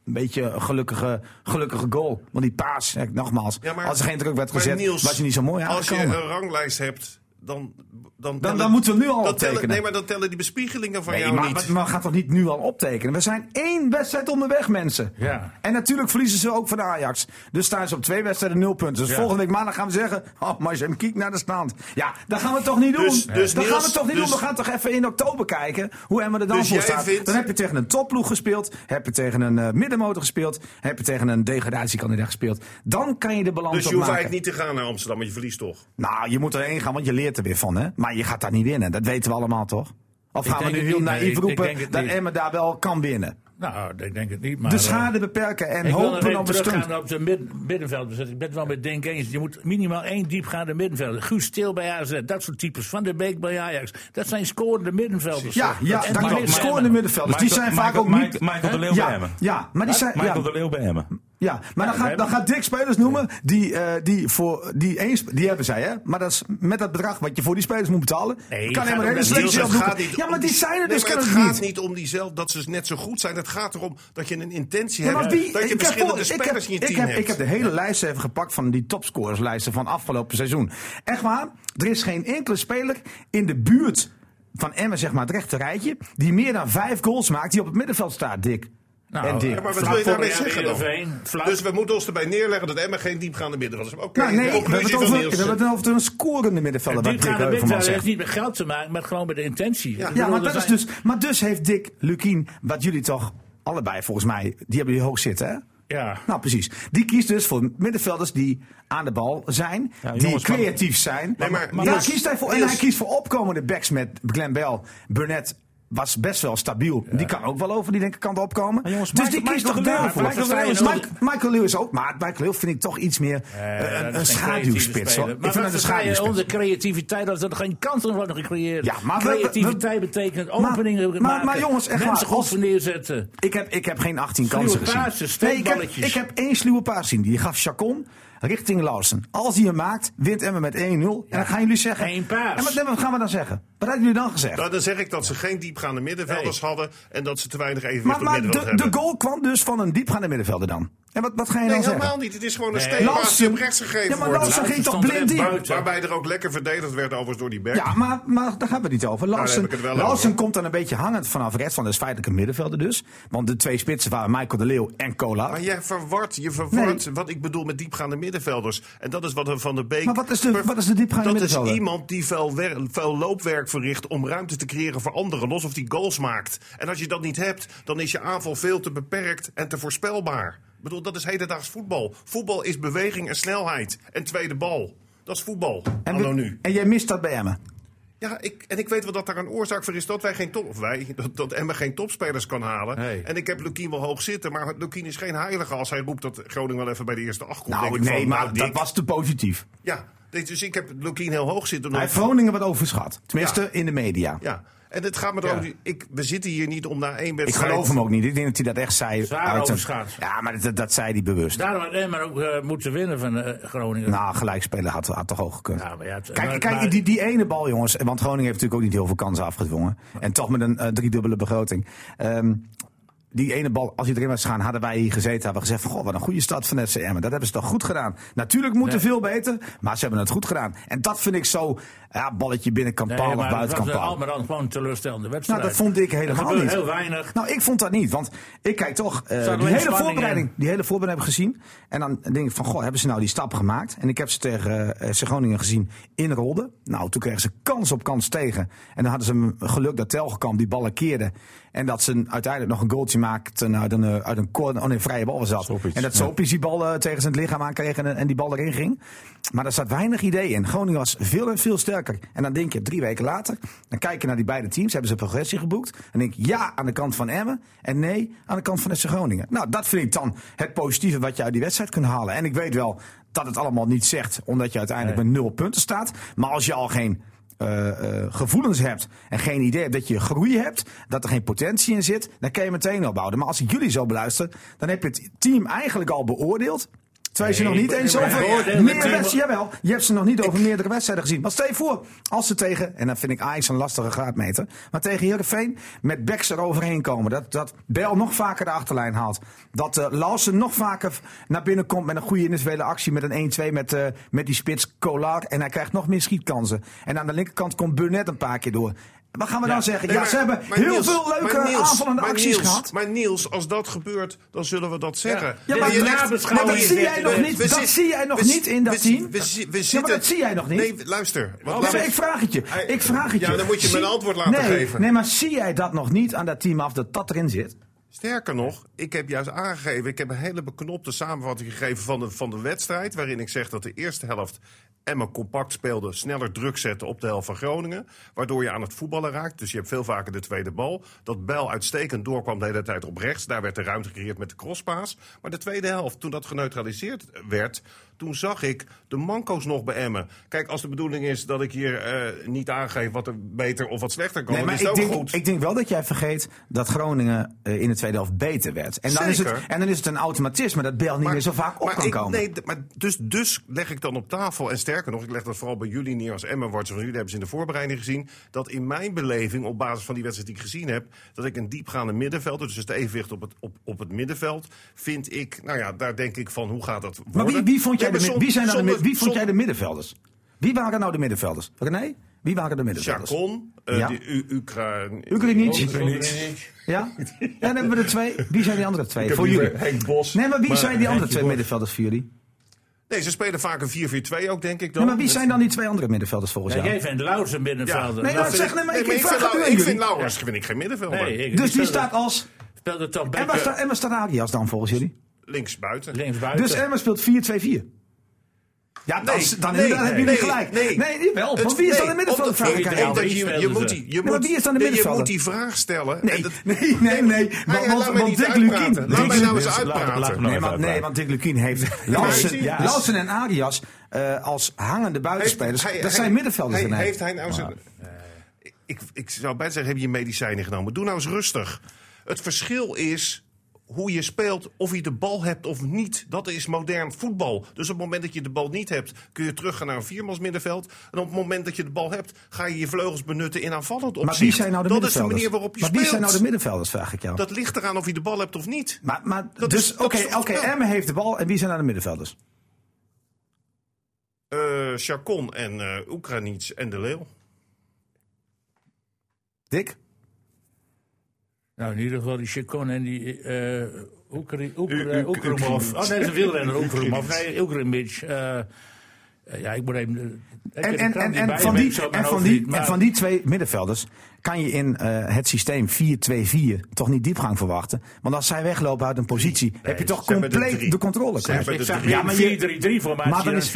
C: een beetje gelukkige, gelukkige goal. Want die paas, eh, nogmaals,
E: Ja, maar-
C: als er geen druk werd
E: maar
C: gezet,
E: Niels,
C: was je niet zo mooi
E: Als je eh,
C: aangekomen.
E: een ranglijst hebt, dan... Dan, tellen-
C: dan moeten we nu al
E: dan tellen,
C: tekenen.
E: Nee, maar dan tellen die bespiegelingen van
C: Nee,
E: jou
C: maar,
E: niet.
C: maar we gaan toch niet nu al optekenen? We zijn één wedstrijd onderweg, mensen.
D: Ja.
C: En natuurlijk verliezen ze ook van de Ajax. Dus staan ze op twee wedstrijden nul punten. Dus
D: Ja.
C: volgende week maandag gaan we zeggen... Oh, maar ze kiek naar de stand. Ja, dat gaan we toch niet doen?
E: Dus- dus
C: dat gaan we
E: Niels,
C: toch niet
E: dus-
C: doen? We gaan toch even in oktober kijken hoe Emma er dan
E: Dus
C: voor
E: jij
C: staat.
E: vindt-
C: Dan heb je tegen een topploeg gespeeld. Heb je tegen een eh, middenmotor gespeeld. Heb je tegen een degradatiekandidaat gespeeld. Dan kan je de balans
E: dus je hoeft
C: opmaken.
E: eigenlijk niet te gaan naar Amsterdam, maar je verliest toch.
C: Nou, je moet erheen gaan, want je leert er weer van, hè? Maar je gaat daar niet winnen, dat weten we allemaal, toch? Of
D: Ik
C: gaan we nu
D: denk het
C: heel
D: niet, nee,
C: naïef
D: ik- ik denk
C: roepen
D: het
C: dat
D: niet.
C: Emmen daar wel kan winnen?
D: Nou, ik denk het niet. Maar,
C: De
D: eh,
C: schade beperken en
D: ik wil nog
C: hopen
D: even
C: op een stunt.
D: teruggaan eh, op de mid- middenveldbezetting. Ik ben het wel met Denk eens. Je moet minimaal één diepgaande middenvelder. Guus Stil bij AZ. Dat soort types. Van der Beek bij Ajax. Dat zijn scorende middenvelders.
C: Ja, ja,
D: En
C: dat
D: die
C: klopt.
D: mist-
C: Scorende middenvelders, dus die zijn vaak ook
B: Michael,
C: niet...
B: Michael de Leeuw bij
C: Ja,
B: Emmen.
C: ja, maar die zijn...
B: Michael
C: Ja,
B: de Leeuw bij Emmen.
C: ja, maar dan gaat, dan gaat Dick spelers noemen die, eh die voor... Die, eens, die hebben zij, hè? Maar dat is met dat bedrag wat je voor die spelers moet betalen...
D: Nee,
C: kan
D: gaat
C: helemaal
D: ook
C: geen
D: met
E: Niels,
C: selectie
E: het
C: opdoeken.
E: gaat niet
C: Ja,
E: om
C: maar
E: die-
C: die zijn er
E: Nee,
C: dus
E: maar
C: kennelijk
E: Het gaat
C: niet.
E: niet om die zelf, dat ze net zo goed zijn. Het gaat erom dat je een intentie
C: Ja,
E: hebt.
C: maar wie,
E: dat je
C: ik, heb,
E: verschillende
C: voor- ik, heb,
E: spelers in je
C: ik,
E: team
C: heb,
E: hebt.
C: ik heb de hele lijst even gepakt van die topscorerslijsten van afgelopen seizoen. Echt waar, er is geen enkele speler in de buurt van Emmen, zeg maar het rechte rijtje, die meer dan vijf goals maakt, die op het middenveld staat, Dick.
D: Nou,
C: En dik.
D: eh,
E: Ja, maar wat
D: vlak
E: wil je
D: voor
E: daarmee
D: de
E: zeggen dan?
D: Heerenveen, vlak.
E: Dus we moeten ons erbij neerleggen dat Emma geen diepgaande middenveld is. Oké,
C: Nou, nee, we
E: de
C: hebben, het
E: conclusie
C: over,
E: van
C: we
E: Niels.
C: hebben het over een scorende middenvelder.
D: Die
C: Wat Dick
D: gaan er
C: Heuvelman
D: met heeft
C: zegt.
D: niet met geld te maken, maar gewoon met de intentie. Ik bedoel,
C: Ja, maar
D: er
C: dat is
D: zijn-
C: dus. Maar dus heeft Dick Lukien, wat jullie toch allebei volgens mij, die hebben jullie hoog zitten, hè?
D: Ja.
C: Nou, precies. Die kiest dus voor middenvelders die aan de bal zijn,
B: Ja,
C: die
B: jongens, maar-
C: creatief zijn.
E: Nee, maar- maar
C: ja,
E: Niels-
C: kiest hij voor, en
E: Niels-
C: hij kiest voor opkomende backs met Glenn Bell, Burnett. Was best wel stabiel. Die kan ook wel over die linkerkant opkomen.
B: Maar jongens,
C: dus
B: Michael-
C: die kiest
B: Michael
C: toch
B: Leeuw-
C: daarvoor.
B: Michael Leeuw is
C: Mike- Michael Lewis ook, maar Michael Lewis vind ik toch iets meer eh,
D: Eh, dat is
C: een,
D: geen creatieve
C: schaduwspits.
D: speler.
C: hoor. Ik
D: Maar
C: vind het een
D: wij
C: schaduwspits.
D: onze creativiteit als er geen kansen worden gecreëerd.
C: Ja, maar we- we-
D: creativiteit betekent
C: Maar-
D: openingen
C: maar-
D: maken,
C: maar jongens, echt
D: mensen
C: waar,
D: goed
C: als-
D: voor neerzetten.
C: Ik heb, ik heb geen 18
D: Sluwe
C: kansen gezien.
D: paasjes,
C: ik, heb,
D: steekballetjes.
C: ik heb één sluwe paas zien. Die gaf Chacon richting Lausen. Als hij hem maakt, wint Emmen met 1-0. En dan gaan jullie zeggen...
D: Geen paas.
C: En wat, nee, wat gaan we dan zeggen? Wat hebben jullie dan gezegd?
E: Nou, dan zeg ik dat ze geen diepgaande middenvelders
D: Nee.
E: hadden en dat ze te weinig evenwicht
C: maar
E: op
C: maar
E: middenveld
C: de, de
E: hebben.
C: goal kwam dus van een diepgaande middenvelder dan. En wat, wat ga je
E: Nee,
C: dan
E: helemaal
C: zeggen?
E: niet. Het is gewoon een
D: Nee.
E: steekpaas die
C: Larsen-
E: op rechts gegeven
C: Ja, maar
E: wordt.
C: Larsen ging toch
D: stond er
C: blind
D: echt
C: in?
D: buiten.
E: Waarbij er ook lekker verdedigd werd overigens door die back.
C: Ja, maar, maar daar gaan we het niet over. Larsen,
E: Nou, heb ik het wel
C: Larsen
E: over.
C: komt dan een beetje hangend vanaf rechts. van de feitelijke middenvelder dus. Want de twee spitsen waren Michael de Leeuw en Cola.
E: Maar jij verwart, je verwart
C: Nee.
E: wat ik bedoel met diepgaande middenvelders. En dat is wat Van der Beek...
C: Maar wat is de- wat is de diepgaande
E: dat
C: middenvelder?
E: is iemand die vuil, wer- vuil loopwerk verricht om ruimte te creëren voor anderen. Los of die goals maakt. En als je dat niet hebt, dan is je aanval veel te beperkt en te voorspelbaar. Ik bedoel, dat is hedendaags voetbal. Voetbal is beweging en snelheid. En tweede bal. Dat is voetbal.
C: en,
E: Anno
C: we-
E: nu.
C: en jij mist dat bij Emmen.
E: Ja, ik, en ik weet wel dat daar een oorzaak voor is dat wij geen top, of wij, dat, dat Emma geen topspelers kan halen.
D: Nee.
E: En ik heb Lukien wel hoog zitten, maar Lukien is geen heilige als hij roept dat Groningen wel even bij de eerste acht komt.
C: Nou,
E: Denk ik
C: nee,
E: van,
C: maar
E: nou,
C: dat
E: Dick,
C: was te positief.
E: Ja, dit- dus ik heb Lukien heel hoog zitten.
C: Hij heeft
E: omdat-
C: Groningen wat overschat. Tenminste,
E: Ja.
C: in de media.
E: ja, en het gaat me
D: Ja.
E: erom. Ik, we zitten hier niet om na één
C: Ik
E: wedstrijd.
C: geloof hem ook niet. Ik denk dat hij dat echt zei.
D: Zwaar
C: uit een-
D: overschat.
C: Ja, maar dat, dat zei hij bewust.
D: Daarom had Emmer ook eh, moeten winnen van eh, Groningen.
C: Nou, gelijkspelen had, had toch ook gekund.
D: Ja, maar ja, het-
C: kijk,
D: maar-
C: kijk
D: maar-
C: die, die ene bal, jongens. Want Groningen heeft natuurlijk ook niet heel veel kansen afgedwongen. En toch met een eh, driedubbele begroting. Ehm, die ene bal, als hij erin was gaan, hadden wij hier gezeten. Hadden we gezegd: van, Goh, wat een goede stad van FC Emmen. Dat hebben ze toch goed gedaan. Natuurlijk moeten veel beter, maar ze hebben het goed gedaan. En dat vind ik zo. Ja, balletje binnen kan paal of
D: maar
C: buiten
D: dat
C: kan
D: was
C: paal.
D: Almerand gewoon een teleurstellende wedstrijd.
C: Nou, dat vond ik
D: Er
C: helemaal
D: gebeurde
C: niet.
D: heel weinig.
C: Nou, ik vond dat niet. Want ik kijk toch eh,
D: alleen
C: die, hele
D: spanning
C: voorbereiding,
D: in.
C: die hele voorbereiding gezien. En dan denk ik van, goh, hebben ze nou die stap gemaakt? En ik heb ze tegen eh FC Groningen gezien in Rolde. Nou, toen kregen ze kans op kans tegen. En dan hadden ze een geluk dat Telgekamp die ballen keerde. En dat ze uiteindelijk nog een goaltje maakten uit een, eh, uit een corner. Oh nee, vrije bal was dat.
B: Soppies,
C: en dat
B: ja.
C: Sopies die bal eh, tegen zijn lichaam aankreeg en, en die bal erin ging. Maar daar zat weinig idee in. Groningen was veel en veel sterker. En dan denk je, drie weken later, dan kijk je naar die beide teams. Hebben ze progressie geboekt? En denk je, ja aan de kant van Emmen en nee aan de kant van FC Groningen. Nou, dat vind ik dan het positieve wat je uit die wedstrijd kunt halen. En ik weet wel dat het allemaal niet zegt, omdat je uiteindelijk met nul punten staat. Maar als je al geen eh, eh, gevoelens hebt en geen idee hebt dat je groei hebt, dat er geen potentie in zit, dan kan je meteen opbouwen. Maar als ik jullie zo beluister, dan heb je het team eigenlijk al beoordeeld. Terwijl je ze
D: Nee,
C: nog niet
D: ik-
C: eens
D: nee, maar
C: over
D: ik beoordeel
C: meer
D: het team-
C: wedstrijden, jawel, je hebt ze nog niet over meerdere wedstrijden gezien. Maar stel je voor, als ze tegen, en dan vind ik Ajax een lastige graadmeter, maar tegen Heerenveen met backs eroverheen komen, dat, dat Bel nog vaker de achterlijn haalt, dat eh Lausen nog vaker naar binnen komt met een goede individuele actie, met een 1-2 met, eh, met die spits Kolar, en hij krijgt nog meer schietkansen. En aan de linkerkant komt Burnett een paar keer door. Wat gaan we dan zeggen?
E: Nee,
C: ja,
E: maar-
C: ze hebben
E: maar
C: heel
E: Niels,
C: veel
E: maar
C: leuke
E: Niels,
C: aanvallende
E: maar
C: acties
E: Niels,
C: gehad.
E: Maar Niels, als dat gebeurt, dan zullen we dat zeggen.
C: Ja,
E: En
C: maar
E: je
D: de
E: legt-
D: nabeschouwing
E: Nee, maar
D: is
E: we-
D: dit.
C: Dat
E: we-
C: zie
E: we
C: jij
E: zit-
C: nog
E: we
C: niet
E: zit-
C: in dat
E: we zi-
C: team.
E: we zi- we
C: Ja, maar
E: zitten-
C: dat zie jij nog niet.
E: Nee, luister. want
C: Ja,
E: laat
C: Oh, maar
E: me-
C: ik vraag het je.
E: Hij-
C: Ik vraag het je.
E: Ja, dan moet je me
C: Zie-
E: een antwoord laten
C: nee,
E: geven.
C: Nee, maar zie jij dat nog niet aan dat team af dat dat erin zit?
E: Sterker nog, ik heb juist aangegeven, ik heb een hele beknopte samenvatting gegeven van de, van de wedstrijd. Waarin ik zeg dat de eerste helft Emma compact speelde, sneller druk zette op de helft van Groningen. Waardoor je aan het voetballen raakt, dus je hebt veel vaker de tweede bal. Dat Bijl uitstekend doorkwam de hele tijd op rechts. Daar werd de ruimte gecreëerd met de crosspaas. Maar de tweede helft, toen dat geneutraliseerd werd, toen zag ik de manco's nog bij Emmen. Kijk, als de bedoeling is dat ik hier eh, niet aangeef wat er beter of wat slechter kan,
C: Nee,
E: dan
C: maar
E: is dat
C: ik
E: ook
C: denk,
E: goed.
C: ik denk wel dat jij vergeet dat Groningen eh, in de tweede helft beter werd. En dan, is het,
E: Zeker.
C: en dan is het een automatisme dat Bel niet meer zo vaak op
E: maar
C: kan
E: ik-
C: komen.
E: Nee, d- maar dus, dus leg ik dan op tafel, en sterker nog, ik leg dat vooral bij jullie neer als Emma Warts, want jullie hebben ze in de voorbereiding gezien, dat in mijn beleving, op basis van die wedstrijd die ik gezien heb, dat ik een diepgaande middenvelder, dus het evenwicht op het, op, op het middenveld, vind ik, nou ja, daar denk ik van, hoe gaat dat worden?
C: maar wie, wie, vond jij
E: Nee,
C: de,
E: maar
C: mid- wie, zijn nou de,
E: zonder-
C: mid- wie vond jij
E: zonder-
C: de middenvelders? Wie waren nou de middenvelders? René? Wie waren de middenvelders?
E: Chacon, eh,
C: Ja.
E: die U- Ukra-
C: Ukrainic.
E: Oh. Ukrainic.
C: Ja? ja, dan hebben we er twee. Wie zijn die andere twee?
F: heb
C: Voor
F: liever
C: jullie.
F: Henk Bos.
C: Nee, maar wie zijn die andere
F: Henkje
C: twee
F: Bos.
C: middenvelders voor jullie?
E: Nee, ze spelen vaak een 4-4-2 ook, denk ik dan. Dus-
C: Nee, maar wie
E: Met-
C: zijn dan die twee andere middenvelders volgens
D: Ja,
C: jou?
D: jij vindt Louts een middenvelder.
C: Nee,
D: Dat
C: dat
D: vind
C: zeg nee, maar
E: Nee,
C: ik,
E: maar
C: ik
E: ik,
C: vraag
E: Nou, vind
C: het nu aan
E: Lau- ik vind
C: jullie.
E: Laurens vind ik geen middenvelder.
D: Nee, ik-
C: Dus die
D: speelde-
C: staat als
D: speelde toch
C: Emma, sta,
D: beter
C: Emma Staradias dan volgens jullie.
E: Links buiten.
D: links buiten.
C: Dus Emma speelt 4-2-4. Ja, dan,
E: Nee,
C: dan,
E: nee,
C: dan hebben jullie
E: nee,
C: gelijk.
E: nee.
C: Nee, jawel. Want wie is dan de middenvelder? Vraag ik aan jou.
D: Nee,
E: dat je, je,
D: speelden
E: moet
D: ze.
E: die, je,
C: maar
E: moet,
C: wie is dan de
E: nee, je
C: middenvelder?
E: moet die vraag stellen.
C: Nee,
E: En dat-
C: nee, nee, nee.
E: maar
C: Want,
E: ja, laat
C: want,
E: mij
C: want
E: niet
C: Dick
E: uitpraten.
C: Lukien...
E: Laat
C: Dick
E: mij nou eens
C: Lukien-
E: uitpraten.
B: laat me nou
C: Nee,
B: even
C: maar, nee,
B: uitpraten.
C: want Dick Lukien heeft Lausen
E: Ja.
C: Lausen en Arias eh, als hangende
E: Heeft-
C: buitenspelers.
E: hij-
C: Dat
E: hij-
C: zijn middenvelders.
E: hij-
C: in
E: Heeft hij nou zijn... Ik, ik zou bijna zeggen, heb je medicijnen genomen? Doe nou eens rustig. Het verschil is hoe je speelt, of je de bal hebt of niet. Dat is modern voetbal. Dus op het moment dat je de bal niet hebt, kun je teruggaan naar een viermans middenveld. En op het moment dat je de bal hebt, ga je je vleugels benutten in aanvallend opzicht.
C: Maar wie zijn nou de
E: dat is de
C: middenvelders?
E: manier waarop je
C: maar wie
E: speelt.
C: zijn nou de middenvelders, vraag ik jou.
E: dat ligt eraan of je de bal hebt of niet.
C: maar, maar,
E: dat is-
C: dus,
E: dat
C: oké,
E: is
C: oké.
E: toch wel-
C: Emmen heeft de bal en wie zijn nou de middenvelders?
E: Eh Chacon en eh Oekraïnic en De Leeuw.
C: Dick?
D: Nou, in ieder geval die Chacon en die eh Oekri- Oekra- Oekrumov. Oh nee, dat is een wielrenner, Oekrumov. Nee, Oekrumich. Eh, eh, ja, ik moet even... eh,
C: En,
D: ik heb
C: en,
D: de krant
C: en,
D: niet bij
C: en,
D: me,
C: van
D: weet
C: die,
D: ik zo uit mijn
C: en, van
D: hoofd
C: die,
D: niet, maar-
C: en van die twee middenvelders kan je in eh, het systeem 4-2-4 toch niet diepgang verwachten. Want als zij weglopen uit een positie, heb je toch
E: ze hebben er drie.
C: compleet de controle.
E: Ze
C: kwijt.
E: hebben
D: Ik
E: er
D: zag
E: drie.
C: Ja, maar je-
D: meer 4-3-3 voor mij.
C: Maar
D: Maar
C: dan
D: dan
C: is-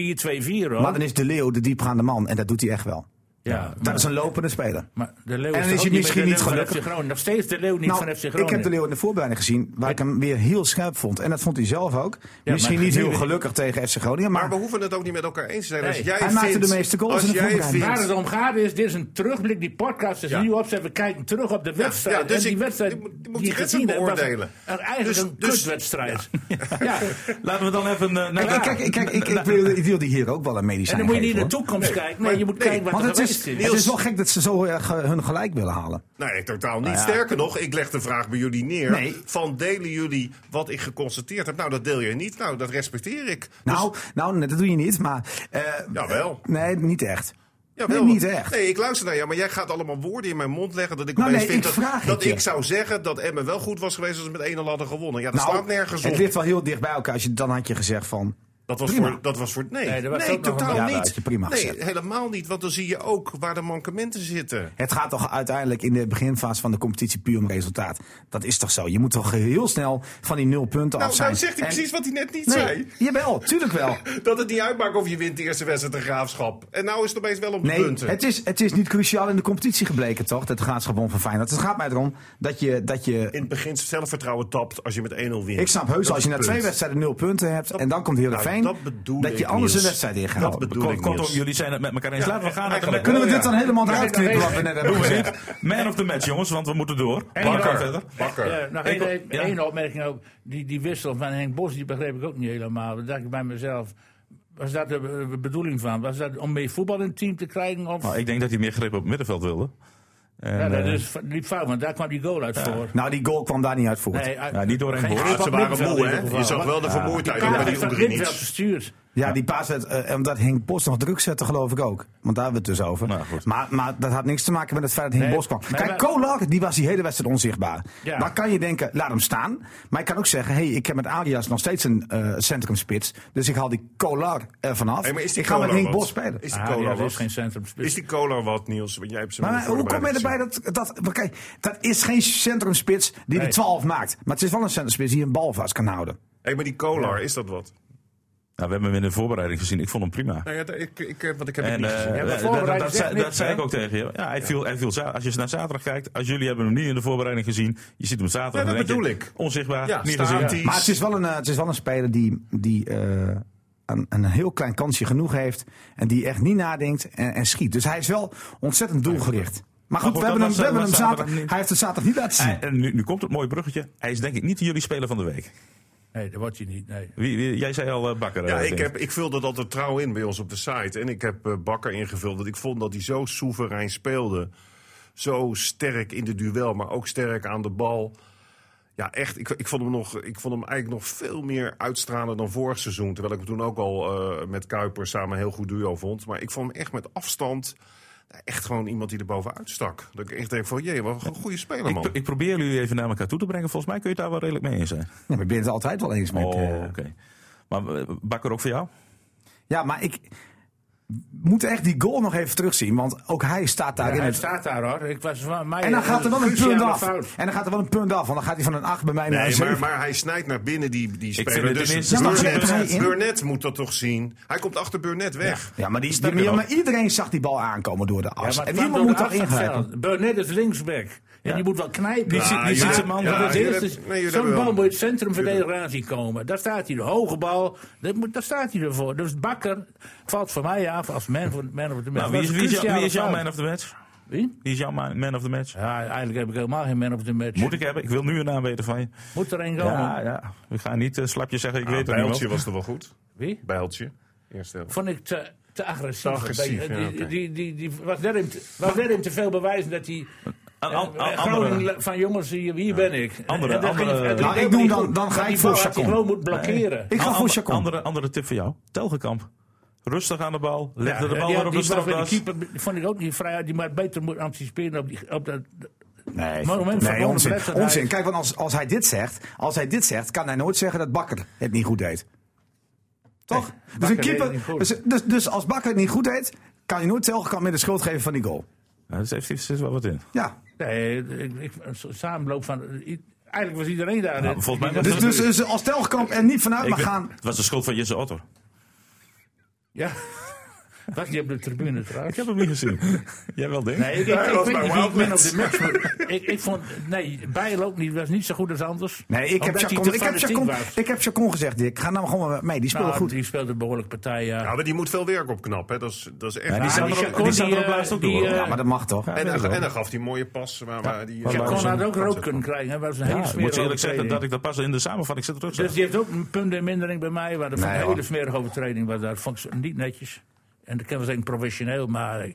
D: 4-2-4
C: Maar
D: hoor.
C: dan is De Leeuw de diepgaande man en dat doet hij echt wel. Nou,
D: Ja,
C: Dat is een lopende speler.
D: maar de Leeuw
C: En
D: toch
C: is
D: ook
C: hij misschien
D: meer de
C: niet
D: Leeuw van
C: gelukkig?
D: FC Groningen. Nog steeds de Leeuw niet
C: Nou,
D: van FC Groningen.
C: ik heb de Leeuw in de voorbereiding gezien, waar ik hem weer heel scherp vond. En dat vond hij zelf ook. Misschien
D: maar-
C: niet heel gelukkig tegen FC Groningen, maar,
E: Maar we hoeven het ook niet met elkaar eens te zijn. Als
D: Nee.
E: jij
C: Hij maakte
E: vindt-
C: de meeste goals
E: als
C: in de
E: jij
C: voorbereiding.
E: vindt-
D: Waar het om gaat is, dit is een terugblik. Die podcast is
E: Ja.
D: nieuw opzet. We kijken terug op de wedstrijd.
E: ja, dus
D: en die
E: ik-
D: wedstrijd
E: ik moet- ik moet
D: je
E: die
D: gezien
E: wedstrijd
D: hebt, was
E: beoordelen.
D: een- Eigenlijk
E: Dus-
D: een
E: dus-
D: kutwedstrijd. ja.
B: Laten we dan even eh, naar
C: Kijk, kijk, kijk, ik, ik, wil- ik wilde hier ook wel een
D: En
C: medicijn
D: dan moet je niet
C: geven,
D: naar de
C: hoor.
D: toekomst kijken. Nee, je moet
E: nee,
D: kijken wat
C: Want
D: er
C: het is,
D: geweest is.
C: het is wel gek dat ze zo eh, ge- hun gelijk willen halen.
E: Nee, Nou totaal niet. Sterker nog, ik leg de vraag bij jullie neer.
C: Nou Nee.
E: Van delen jullie wat ik geconstateerd heb? Nou, dat deel je niet. Nou, dat respecteer ik.
C: Nou, nou, nee, dat doe je niet, maar... eh,
E: Dus- Jawel.
C: Nee, niet echt.
E: Ja,
C: nee,
E: wel.
C: niet echt.
E: Nee, ik luister naar jou, maar jij gaat allemaal woorden in mijn mond leggen dat ik
C: Nou,
E: opeens
C: nee,
E: vind
C: ik
E: dat,
C: vraag
E: dat
C: het je.
E: ik zou zeggen dat Emmen wel goed was geweest als ze met 1-0 hadden gewonnen. Ja, dat
C: Nou,
E: staat nergens op.
C: het ligt wel heel dicht bij elkaar. Als je, dan had je gezegd van...
E: Dat was,
C: Prima.
E: voor, dat was voor. Nee,
D: Nee,
E: nee,
D: dat was ook nog
E: totaal
C: een- Ja, dat had je
E: niet.
C: prima gezet.
E: nee, helemaal niet. Want dan zie je ook waar de mankementen zitten.
C: Het gaat toch uiteindelijk in de beginfase van de competitie puur om resultaat. Dat is toch zo? Je moet toch heel snel van die nul punten
E: Nou,
C: af zijn.
E: nou zegt hij
C: En-
E: precies wat hij net niet
C: Nee,
E: zei.
C: jawel, tuurlijk wel.
E: Dat het niet uitmaakt of je wint de eerste wedstrijd de graafschap. En nou is het opeens wel om de
C: Nee,
E: punten.
C: het is, het is niet cruciaal in de competitie gebleken, toch? Dat graafschap won van Feyenoord. Het gaat mij erom dat je... Dat je
E: in het begin zelfvertrouwen tapt als je met 1-0 wint.
C: ik snap
E: Dat
C: heus
E: is
C: als je na
E: het
C: twee
E: punt.
C: wedstrijden nul punten hebt en dan komt Heerenveen...
E: Nou, dat bedoel
C: dat je
E: ik,
C: anders een
E: Niels.
C: wedstrijd in gaat
E: Dat
C: houden.
E: bedoel ik,
B: Kortom,
E: Niels.
B: Oh, jullie zijn het met elkaar eens.
E: Ja,
B: Laten we gaan naar de
E: eigenlijk
B: man-
C: Kunnen we
E: Oh,
C: dit
E: ja.
C: dan helemaal
D: Ja,
C: uitknippen
D: dan
C: wat we net hebben
B: Doe
C: gezegd?
B: het. Man of the match, jongens, want we moeten door.
D: Bakker.
B: Bakker verder.
D: Ja, nog
B: Ik-
D: één, Eh, nou, één-
B: ja.
D: één opmerking ook. Die, die wissel van Henk Bos, die begreep ik ook niet helemaal. Dan dacht ik bij mezelf, was dat de eh, bedoeling van? Was dat om meer voetbal in het team te krijgen? Of...
B: Nou, ik denk dat hij meer grip op het middenveld wilde. En,
D: ja, dat
B: eh,
D: is, liep fout, want daar kwam die goal uit voor.
C: Nou, die goal kwam daar niet uit voort.
D: Nee, uit-
B: Ja, Nou, niet door Henk
D: geen
B: Bos.
D: grip
E: Ze
D: op
E: waren
D: middenveld
E: moe,
D: in
E: hè?
D: ieder geval.
E: Je zag wel de vermoeidheid ook bij
D: Kaart
E: die
D: heeft van
E: Oekraïners.
D: Grindveld gestuurd.
C: Ja, die paas werd, eh, omdat Henk Bos nog druk zette, geloof ik ook. Want daar hebben we het dus over.
B: Nou, goed.
C: maar, maar dat had niks te maken met het feit dat Henk
D: Nee,
C: Bos kwam.
D: nee,
C: Kijk,
D: maar-
C: Kolak, die was die hele wedstrijd onzichtbaar.
D: Ja.
C: Dan kan je denken, laat hem staan. Maar ik kan ook zeggen, hey, ik heb met Arias nog steeds een eh, centrumspits. Dus ik haal die Kolak er vanaf.
E: Hey, maar is die
C: ik ga met
E: Kolak
C: Henk
E: wat?
C: Bos spelen.
E: Is die
D: Ah,
E: cola
D: ja, dat
E: wat?
D: is geen centrum.
E: Is die cola wat, Niels? Want jij hebt ze
C: Maar,
E: met
C: maar
E: de
C: hoe kom je erbij
E: voorbereiding
C: dat, dat... maar Kijk, dat is geen centrumspits die
D: Nee.
C: de 12 maakt. Maar het is wel een centrumspits die een bal vast kan houden.
E: gezien. Hé, maar die cola, is dat wat?
B: Nou, we hebben hem in de voorbereiding gezien. Ik vond hem prima.
E: Nou ja, d- ik, ik, eh, want ik heb het
B: En,
E: niet
B: eh,
E: gezien.
D: maar
B: dat- dat,
D: voorbereiding
B: dat
D: zegt
B: zei,
D: niks,
B: dat zei
D: hè?
B: ik ook tegen je. Ja, hij viel, hij viel, za- als je naar zaterdag kijkt, als jullie hebben hem nu in de voorbereiding gezien, je ziet hem zaterdag.
E: Ja, dat
B: dan denk je,
E: bedoel ik.
B: Onzichtbaar,
E: Ja,
B: niet gezien.
E: staat
C: Maar het is wel een, eh, het is wel een speler die, die eh, een, een heel klein kansje genoeg heeft. En die echt niet nadenkt en, en schiet. Dus hij is wel ontzettend doelgericht. Maar goed,
B: goed,
C: we hebben
B: dat
C: hem, we hebben
B: was-
C: hem
B: was zaterdag
C: zaterdag,
B: niet.
C: hij heeft het zaterdag niet laten zien.
B: Hij- eh, en nu, nu komt het mooie bruggetje. Hij is denk ik niet jullie speler van de week.
D: Nee, dat wordt je niet. Nee.
B: Wie, wie- jij zei al eh, Bakker.
E: Ja,
B: eh,
E: ik,
B: denk
E: heb, ik vulde dat er trouw in bij ons op de site. En ik heb eh, Bakker ingevuld. Want ik vond dat hij zo soeverein speelde. Zo sterk in de duel, maar ook sterk aan de bal. Ja, echt. Ik, ik, vond hem nog, ik vond hem eigenlijk nog veel meer uitstralen dan vorig seizoen. Terwijl ik hem toen ook al eh, met Kuiper samen een heel goed duo vond. Maar ik vond hem echt met afstand Ja, echt gewoon iemand die er bovenuit stak. Dat ik echt denk van, jee, wat een goede speler, man.
B: Ik, ik probeer jullie even naar elkaar toe te brengen. Volgens mij kun je het daar wel redelijk mee eens zijn.
C: Ja, maar ik ben het altijd wel eens met...
B: oh,
C: eh,
B: oké. Maar eh, Bakker ook voor jou?
C: Ja, maar ik moet echt die goal nog even terugzien. Want ook hij staat daar
D: Ja,
C: in
D: hij
C: het...
D: staat daar hoor. Ik was, van mij,
C: En dan gaat er wel een punt
D: cruciale
C: af.
D: fout.
C: En dan gaat er wel een punt af. Want dan gaat hij van een 8 bij mij naar een
E: Nee,
C: 7.
E: maar, maar hij snijdt naar binnen die, die
B: vind
E: speler.
B: het
E: Dus
B: tenminste-
C: Ja, maar
E: Burnett,
C: hij komt erin.
E: Burnett moet dat toch zien. Hij komt achter Burnett weg.
C: Ja, maar, die,
E: Sterker
C: ja,
E: nog.
C: maar iedereen zag die bal aankomen door de as.
D: Ja, maar
C: en
D: het
C: iemand
D: kwam
C: moet
D: door
C: daar
D: de afstand
C: ingrijpen.
D: zelf. Burnett is linksback. En die moet wel knijpen.
B: Die zit- die zit zijn man-
D: want
E: Ja,
D: het
E: jullie
D: eerste is,
E: hebben- nee, jullie
D: zo'n
E: hebben
D: bal
E: wel-
D: moet het centrum verdediger aan zien komen. Daar staat hij, de hoge bal. Dat moet, daar staat hij ervoor. Dus Bakker valt voor mij af als man, van, man of the
B: Nou,
D: match.
B: wie is,
D: Dat
B: wie, is jou-
D: cruciale
B: wie is jouw
D: fout.
B: man of the match?
D: Wie?
B: Wie is jouw ma- man of the match?
D: Ja, eigenlijk heb ik helemaal geen man of the match.
B: Moet ik hebben? Ik wil nu een naam weten van je.
D: Moet er één komen?
B: Ja, ja. We gaan niet eh, slapje zeggen, ik
E: Ah,
B: weet het niet.
E: Bijltje
B: wel.
E: was er wel goed.
D: Wie?
E: Bijltje. Eerste helft.
D: Vond ik te, te agressief.
E: Te agressief,
D: Die-
E: ja,
D: die,
E: oké.
D: die, die, die was net hem te, was net hem te veel bewijzen dat hij...
B: Een an-
D: Eh,
B: an-
D: Groningen
B: andere.
D: le- van jongens, hier, hier ben ik.
B: Andere-
D: En dat
B: andere-
D: ging- en dat
C: Nou,
D: ging
C: ik doe
D: niet
C: dan-
D: goed.
C: dan ga
D: Want
C: ik
D: die
C: voor
D: bal had hij
C: Chacon.
D: gewoon moet blokkeren.
C: Ik ga
B: Een
C: voor
B: ander-
C: Chacon.
B: Andere, andere tip voor jou. Telgekamp. Rustig aan de bal.
D: Ja,
B: Legde de
D: die
B: bal
D: had-
B: weer op de
D: die bal van
B: strafdas.
D: die keeper vond ik ook niet vrij uit. Die maar beter moet anticiperen op, die, op dat...
C: Nee,
D: Maar op het moment van
C: nee
D: Bommel
C: onzin.
D: belet dat hij-
C: onzin. Kijk, want als, als, hij dit zegt, als hij dit zegt, kan hij nooit zeggen dat Bakker het niet goed deed. Toch? dus,
D: Bakker
C: een
D: deed het niet
C: keeper,
D: goed.
C: dus, dus, dus als Bakker het niet goed deed, kan hij nooit Telgekamp meer de schuld geven van die goal.
B: Nou, dus heeft er zit wel wat in.
C: Ja.
D: Nee, ik, ik, een so- samenloop van... i- Eigenlijk was iedereen daar.
B: Nou, volgens mij was
C: Dus, dus, dus als Telgekamp er niet vanuit
B: Ik
C: mag
B: weet-
C: gaan...
B: Het was de schuld van Jesse Otter.
D: Ja. Was die op de tribune
B: Ik
D: trouwens?
B: heb hem niet gezien. Jij wel, denk
D: Nee, ik, ik,
E: Hij
D: ik
E: was
D: weet
E: bij
D: niet wie ik ben op
E: Wildlands.
D: de match. maar Ik, ik vond, nee, Bijloop niet, was niet zo goed als anders.
C: Nee, ik heb,
D: Omdat hij
C: Chacon,
D: te
C: ik, heb
D: fanatiek
C: Chacon,
D: was.
C: ik heb Chacon gezegd, Dick. Ga nou gewoon mee. Die speelt
D: Nou,
C: goed.
D: Die speelde behoorlijk partij, ja.
E: Ja, maar die moet veel werk opknappen. hè. Dat is, dat is echt...
B: die
D: zou
B: zaten
D: die
B: er ook-
D: Chacon,
B: die zaten er
D: die,
B: ook laatst ook
D: eh,
B: door.
D: die,
B: hoor.
C: Ja, maar dat mag toch?
E: en, dan,
B: wel.
E: en dan gaf hij een mooie pas. Waar, waar die,
B: Ja,
D: Chacon
B: Kon
D: had ook rood kunnen krijgen. Hij was een hele
B: Ja, ik moet
D: smerige
B: je eerlijk zeggen dat
D: overtreding.
B: ik dat pas in de samenvatting zit terug.
D: Dus die heeft ook een punt in mindering bij mij. Maar dat vond ik een hele smerige overtreding. Was dat vond ik niet netjes. En dat kan wel zeggen professioneel, maar... eh,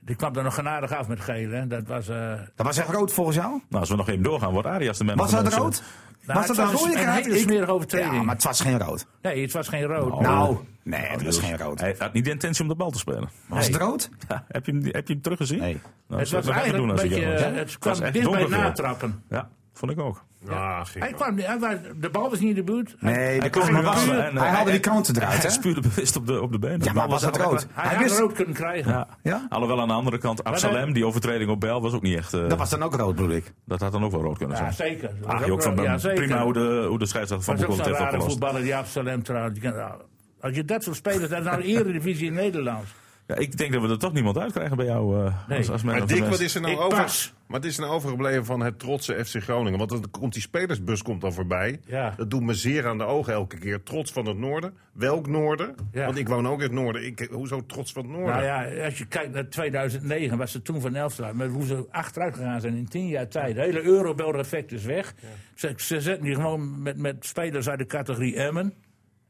D: Die kwam er nog genadig af met geel. Hè. Dat was, eh,
C: Dat was echt rood volgens jou?
B: Nou, als we nog even doorgaan, wordt Arias de man
C: Was
B: of the
C: dat
B: match.
C: rood?
D: Nou,
C: was
D: het
C: dat een
D: was
C: rode
D: een
C: kaart?
D: hele smerige overtreding.
C: Ja, maar het was geen rood.
D: nee, het was geen rood.
C: Nou, nee, het was geen rood.
B: Oh, Hij had niet de intentie om de bal te spelen.
C: Was het rood?
B: Ja, heb, je hem, heb je hem teruggezien?
C: Nee.
B: Nou,
D: het
B: zou ik
D: was
B: nog even
D: eigenlijk
B: doen
D: een
B: als ik
D: beetje...
B: jou was.
D: eh, Het
B: was
D: kwam
B: echt
D: dicht bij
B: donker veel.
D: natrappen.
B: Ja, vond ik ook.
E: Ja,
D: Hij
E: ging
D: kwam, niet- hij, was- de bal was niet in de buurt.
C: Nee, de
B: kon
C: maar
B: nu
C: was-
B: wel, en, eh,
C: hij haalde
B: hij-
C: die counter eruit,
B: Hij
C: hè?
B: spuurde bewust op de, op de benen.
C: Ja, maar was het
B: al-
C: rood?
D: Hij,
C: Hij
D: had
C: wist...
D: rood kunnen krijgen.
B: Ja.
C: Ja?
B: Alhoewel aan de andere kant, Absalem,
D: hij-
B: die overtreding op Bel was ook niet echt... eh,
C: Dat was dan ook rood, bedoel ik.
B: dat had dan ook wel rood kunnen
D: Ja,
B: zijn.
D: zeker. Dat
B: Ach,
D: was
B: je ook Ah, van
D: wel- ja,
B: Bem.
D: zeker.
B: prima hoe de, hoe de scheidsrechter van
D: Dat is
B: Boekel het
D: ook zo'n
B: heeft
D: rare
B: opgelost.
D: voetballer, die Absalem trouwens. Die kan- nou, Als je dat soort spelers, dat is nou de eredivisie in Nederland.
B: Ja, ik denk dat we er toch niemand uitkrijgen bij jou. eh
D: Nee.
B: als, als man
E: Maar
B: of the
E: Dick,
B: match.
E: wat is er nou
D: Ik
E: over?
D: pas.
E: Wat is er nou overgebleven van het trotse FC Groningen? Want dan komt die spelersbus komt dan voorbij.
D: Ja.
E: Dat doet me zeer aan de ogen elke keer. Trots van het noorden. Welk noorden?
D: Ja.
E: Want ik woon ook in het noorden. Ik, hoezo trots van het noorden?
D: Nou ja, als je kijkt naar 2009, was ze toen van Elftal. Maar hoe ze achteruit gegaan zijn in tien jaar tijd. Het hele Eurobel-effect is weg. Ze, ze zetten die gewoon met, met spelers uit de categorie Emmen.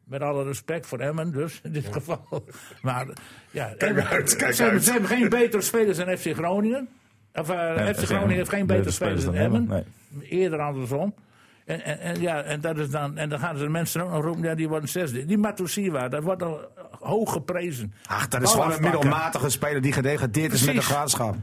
D: Met alle respect voor Emmen, dus in dit geval. Maar ja, Emmen-
E: uit, kijk
D: ze, hebben,
E: uit.
D: ze hebben geen betere spelers dan FC Groningen. Of, eh,
B: Nee,
D: FC
B: geen
D: Groningen heeft geen betere spelers dan Emmen.
B: Emmen,
D: Eerder andersom. En, en, en, ja, en, dat is dan, en dan gaan ze de mensen ook nog roepen, ja, die worden zesde. Die Matusiwa, dat wordt al hoog geprezen.
C: Ach, dat is gewoon een
D: Ballen afpakken.
C: middelmatige speler die gedegradeerd is met de
D: Precies.
C: graafschap.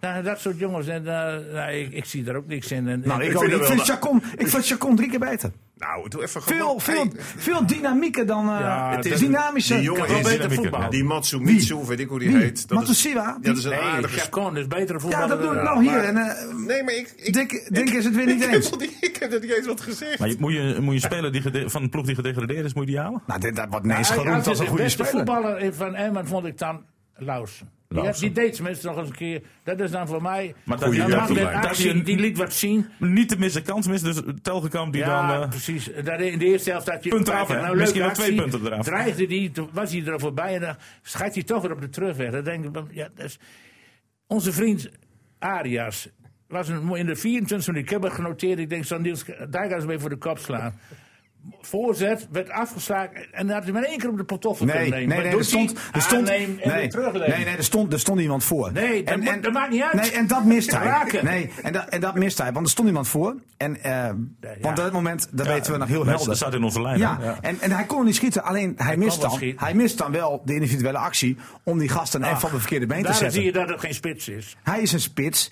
D: Nou, dat soort jongens, en, eh, nou, ik, ik zie daar ook niks in. En,
C: Nou,
D: en-
C: ik,
E: vind
C: ook niet.
E: het
C: ik
E: wel
C: vind
E: na-
C: Chacon, ik vind Chacon drie keer beter.
E: Nou, doe even
C: Veel,
E: gewoon-
C: veel,
E: Hey,
C: veel dynamieker dan... eh,
D: Ja,
C: het is
D: dat-
C: dynamischer.
E: die jongen
D: kan wel
E: is
D: beter
B: dynamieker.
D: voetbal.
E: die Matsumitsu, weet ik hoe die
C: Wie?
E: heet. Dat is-
C: Matsusiwa?
E: Ja, dat is een
D: nee,
E: aardige
D: Chacon is betere voetbal.
C: Ja, dat bedoel ik nou
E: maar-
C: hier. En, eh,
E: Nee, maar ik... ik
C: Dick, Dick is het weer niet
E: ik heb
C: eens.
E: dat niet- ik heb dat niet eens wat gezegd.
B: Maar je, moet, je, moet je speler die gede- van een ploeg die gedegradeerd is, moet je die halen?
C: Nou, dit, dat wordt ineens
D: Hij-
C: geroemd
D: hij-
C: als een
D: De
C: goede
D: beste
C: speler.
D: voetballer van Emmen vond ik dan Lausen. Die,
B: Lausen.
D: die deed tenminste nog eens een keer. Dat is dan voor mij...
B: Maar dat-
D: die,
B: dat-
D: mag
B: dat-
D: dit
B: dat-
D: actie,
B: dat-
D: die liet wat zien.
B: Niet te missen kans mis, dus Telgekamp die
D: Ja,
B: dan... eh,
D: precies. Daar in de eerste helft had je...
B: Punten af, hè?
D: Nou,
B: Misschien
D: leuke
B: wel twee
D: actie.
B: punten eraf.
D: Dreigde die, toen was hij er voorbij en dan gaat hij toch weer op de terugweg. Dan denk ik, van, ja, dat is- onze vriend Arias was een, in de 24 minuten, ik heb het genoteerd, ik denk, zo'n Niels Dijkhuis mee voor de kop slaan. voorzet werd afgeslagen. En dan had hij maar één keer op de pantoffel
C: Nee,
D: kunnen
C: nee,
D: nemen.
C: nee,
D: Maar
C: er
D: doet
C: stond,
D: hij
C: er stond,
D: aannemen en
C: nee,
D: weer terugleggen.
C: nee, nee, er stond, er stond iemand voor.
D: Nee, dat moet- dat maakt niet uit.
C: Nee, en dat mist hij.
D: Raken.
C: Nee, en, dat en dat mist hij, want er stond iemand voor. En, eh, want op dat moment, dat weten we nog heel
B: Hij
C: helder.
B: nou, staat in onze lijn.
C: Ja,
B: hè?
C: En, en hij kon niet schieten, alleen hij, mist
D: kon wel
C: dan,
D: schieten.
C: hij mist dan wel de individuele actie om die gast dan even
D: Ach,
C: van de verkeerde been te
D: Daarom
C: zetten.
D: zie je dat het geen spits is.
C: Hij is een spits.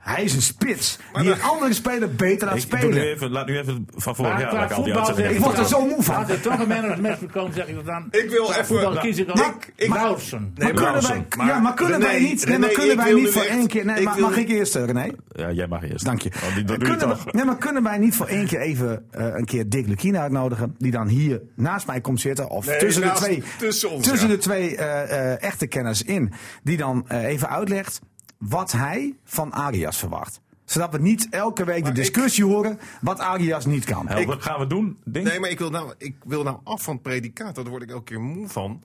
C: Hij is een spits die een andere speler beter laat
B: Ik doe nu
C: spelen.
B: even, laat nu even van voren.
D: Maar
B: Ja,
D: qua
B: laat ik al die
D: voetbal
B: uitzendingen.
D: zeg
C: Ik word er zo moe van.
D: Als er toch een man of the match moet komen, zeg ik dat dan.
E: Ik wil
D: Qua
E: even-
D: voetbal
E: nou,
D: kies ik
E: Dick,
D: al.
E: ik-
D: Brouwson.
E: Nee,
C: Maar kunnen wij,
E: Brouwson.
C: ja, maar kunnen wij
E: René,
C: niet, nee,
E: René,
C: maar kunnen
E: ik
C: wij
E: wil
C: niet
E: nu
C: voor
E: echt-
C: één keer. Nee,
E: ik
C: maar,
E: wil-
C: mag ik eerst, eh, René?
B: Ja, jij mag eerst.
C: Dank je.
B: Want Oh, die- dat doe je
C: kunnen,
B: toch.
C: we- nee, maar kunnen wij niet voor één keer even eh, een keer Dick Lukien uitnodigen? Die dan hier naast mij komt zitten. Of
E: Nee,
C: tussen,
E: naast-
C: de twee,
E: tussen ons, ja.
C: de twee eh, eh, echte kenners in. Die dan eh, even uitlegt wat hij van Arias verwacht. Zodat we niet elke week de discussie horen wat Arias niet kan.
B: Helder, wat gaan we doen? Ding?
E: Nee, maar ik wil, nou, ik wil nou af van het predicaat. Daar word ik elke keer moe van.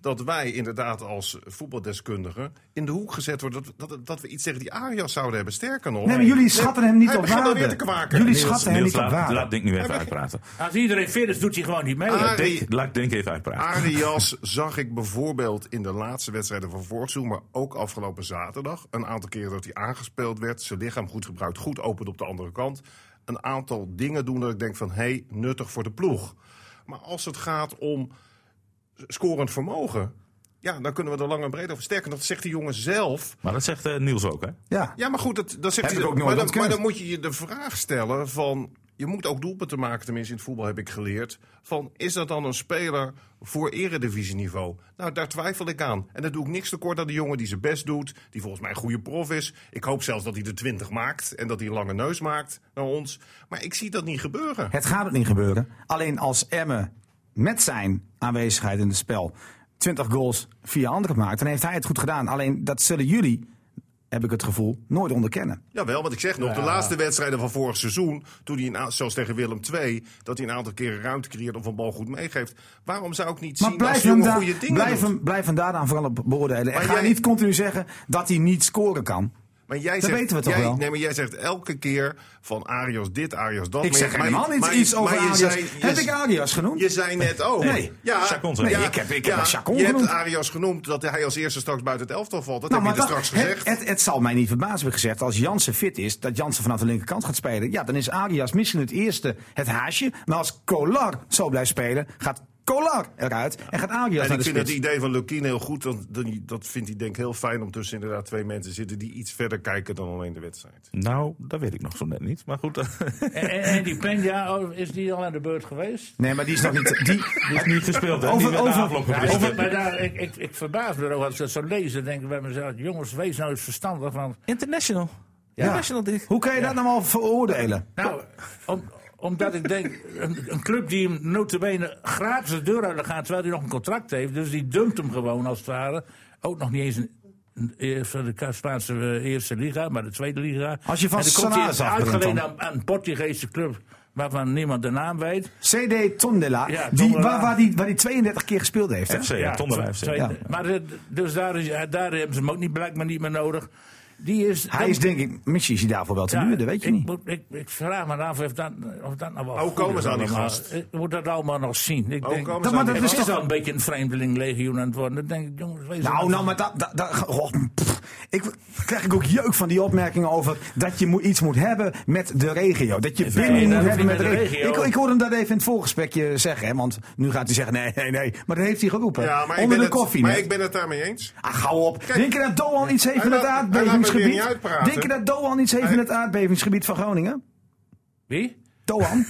E: Dat wij inderdaad als voetbaldeskundigen in de hoek gezet worden. Dat, dat, dat we iets tegen die Arias zouden hebben. Sterker nog.
C: Nee, maar jullie schatten hem niet
E: hij
C: op
E: begint
C: waarde.
E: alweer te kwaken.
C: Jullie
E: Niels-
C: schatten hem
B: Niels,
C: niet op
B: laat,
C: waarde.
B: laat Dink nu even
E: maar-
B: uitpraten.
D: Als iedereen fit is, doet hij gewoon niet mee.
E: Ah,
B: Laat
E: Arie-
B: Dink, laat Dink even
C: Ah.
B: uitpraten.
E: Arias zag ik bijvoorbeeld in de laatste wedstrijden van Voortsoen, maar ook afgelopen zaterdag. Een aantal keren dat hij aangespeeld werd, zijn lichaam goed gebruikt, goed opent op de andere kant. Een aantal dingen doen dat ik denk van, hé, hey, nuttig voor de ploeg. Maar als het gaat om scorend vermogen, ja, dan kunnen we er lang en breed over. Sterker nog, dat zegt die jongen zelf.
B: Maar dat zegt eh, Niels ook, hè?
C: Ja.
E: Ja, maar goed, dat, dat zegt
C: Heb
E: hij
C: ik ook nooit
E: maar, dan,
C: ontkend.
E: maar dan moet je je de vraag stellen van... Je moet ook doelpunten maken, tenminste in het voetbal heb ik geleerd. Van, is dat dan een speler voor eredivisieniveau? Nou, daar twijfel ik aan. En dat doe ik niks tekort aan de jongen die zijn best doet. Die volgens mij een goede prof is. Ik hoop zelfs dat hij de 20 maakt. En dat hij een lange neus maakt naar ons. Maar ik zie dat niet gebeuren.
C: Het gaat het niet gebeuren. Alleen als Emme met zijn aanwezigheid in het spel 20 goals via anderen maakt, dan heeft hij het goed gedaan. Alleen dat zullen jullie, heb ik het gevoel, nooit onderkennen.
E: Jawel, want ik zeg nog, de laatste wedstrijden van vorig seizoen, toen hij een a- zoals tegen Willem II, dat hij een aantal keren ruimte creëert of een bal goed meegeeft. Waarom zou ik niet
C: Maar
E: zien als
C: blijf
E: die
C: hem,
E: jongen
C: daar,
E: goede dingen
C: blijf,
E: doet?
C: hem, blijf hem daar dan vooral op beoordelen. en
E: Maar
C: ga
E: jij-
C: niet continu zeggen dat hij niet scoren kan.
E: Maar jij
C: Dat
E: zegt,
C: weten we toch
E: jij,
C: wel?
E: Nee, maar jij zegt elke keer van Arias dit, Arias dat.
C: Ik
E: Maar
C: zeg
E: je- maar je-
C: helemaal niet
E: maar je-
C: iets over
E: maar je
C: Arias.
E: zei- je
C: heb
E: z-
C: ik Arias genoemd?
E: Je zei net ook.
C: Nee.
E: ja,
B: Chacon zei-
C: Nee, ik heb- ik heb
E: ja,
C: Chacon
E: je
C: genoemd.
E: hebt Arias genoemd dat hij als eerste straks buiten het elftal valt. Dat
C: Nou,
E: heb je
C: maar
E: er straks
C: wacht, het,
E: gezegd.
C: het, het zal mij niet verbazen, heb ik gezegd. Als Jansen fit is, dat Jansen vanaf de linkerkant gaat spelen. Ja, dan is Arias misschien het eerste het haasje. Maar als Kolar zo blijft spelen, gaat Kolar eruit en gaat Arias
E: en
C: naar
E: ik
C: de
E: vind het
C: spits.
E: idee van Lukien heel goed. want dan- Dat vindt hij denk ik heel fijn om tussen inderdaad twee mensen zitten die iets verder kijken dan alleen de wedstrijd.
B: Nou, dat weet ik nog zo net niet. Maar goed,
D: En, en- en die Penja, oh, is die al aan de beurt geweest?
C: Nee, maar die is nog niet... Die,
B: die is niet gespeeld, hè?
C: Over-
B: die werd na
C: over-
B: afloop
D: Ja,
B: gewisseld.
D: ik, maar daar, ik, ik, ik verbaas me erover als ik dat zo lees. Dan denk ik bij mezelf, jongens, wees nou eens verstandig. Want,
B: International. International, Dick.
C: hoe kan je dat nou al veroordelen?
D: nou, om, omdat ik denk, een, een club die hem notabene gratis de deur uit gaat, terwijl hij nog een contract heeft. Dus die dumpt hem gewoon als het ware. Ook nog niet eens een, een- eh, van de Ka- Spaanse eh, eerste liga, maar de tweede liga.
C: Als je van
D: En dan komt
C: salaris
D: hij
C: afbrengt
D: uitgeleend
C: dan.
D: aan, aan een Portugese club waarvan niemand de naam weet.
C: CD Tondela,
D: Ja,
C: die,
D: Tondela.
C: waar, waar, die, waar die 32 keer gespeeld heeft. Hè?
B: FC, ja, Tondela FC.
D: twee-
C: ja.
D: Maar eh, dus daar, is, daar hebben ze hem ook niet, blijkbaar niet meer nodig. Die is,
C: Hij is denk ik, misschien is hij daarvoor wel te duur, dat weet je
D: ik,
C: niet.
D: Moet, ik, ik vraag me af of dat, of dat nou wel.
E: Hoe
D: goed
E: komen
D: is
E: ze aan die
D: allemaal.
E: gast?
D: Ik moet dat allemaal nog zien. Ik denk,
E: komen
C: ze
D: maar
C: aan die
D: dat
C: gast?
D: is al een beetje een vreemdelinglegioen aan het worden. Dan denk ik, jongens, wees
C: Nou,
D: er
C: nou, maar dat... dat, dat oh, pff. ik krijg ik ook jeuk van die opmerkingen over dat je moet, iets moet hebben met de regio. Dat je binnen
D: nee,
C: moet
D: dat hoeft
C: hebben
D: niet
C: met de
D: met de
C: regio.
D: regio.
C: Ik, ik hoorde hem dat even in het voorgesprekje zeggen, hè, want nu gaat hij zeggen nee, nee, nee. Maar dat heeft hij geroepen.
E: Ja, maar, ik
C: Onder
E: ben,
C: de
E: het,
C: koffie.
E: maar
C: net.
E: ik ben het daarmee eens.
C: Ah, gauw op. Denk je dat Doan iets heeft
E: hij
C: in het
E: laat- hij laat me weer
C: aardbevingsgebied?
E: niet uitpraten.
C: Denk je dat Doan iets heeft in het aardbevingsgebied van Groningen?
D: Wie?
C: Doan?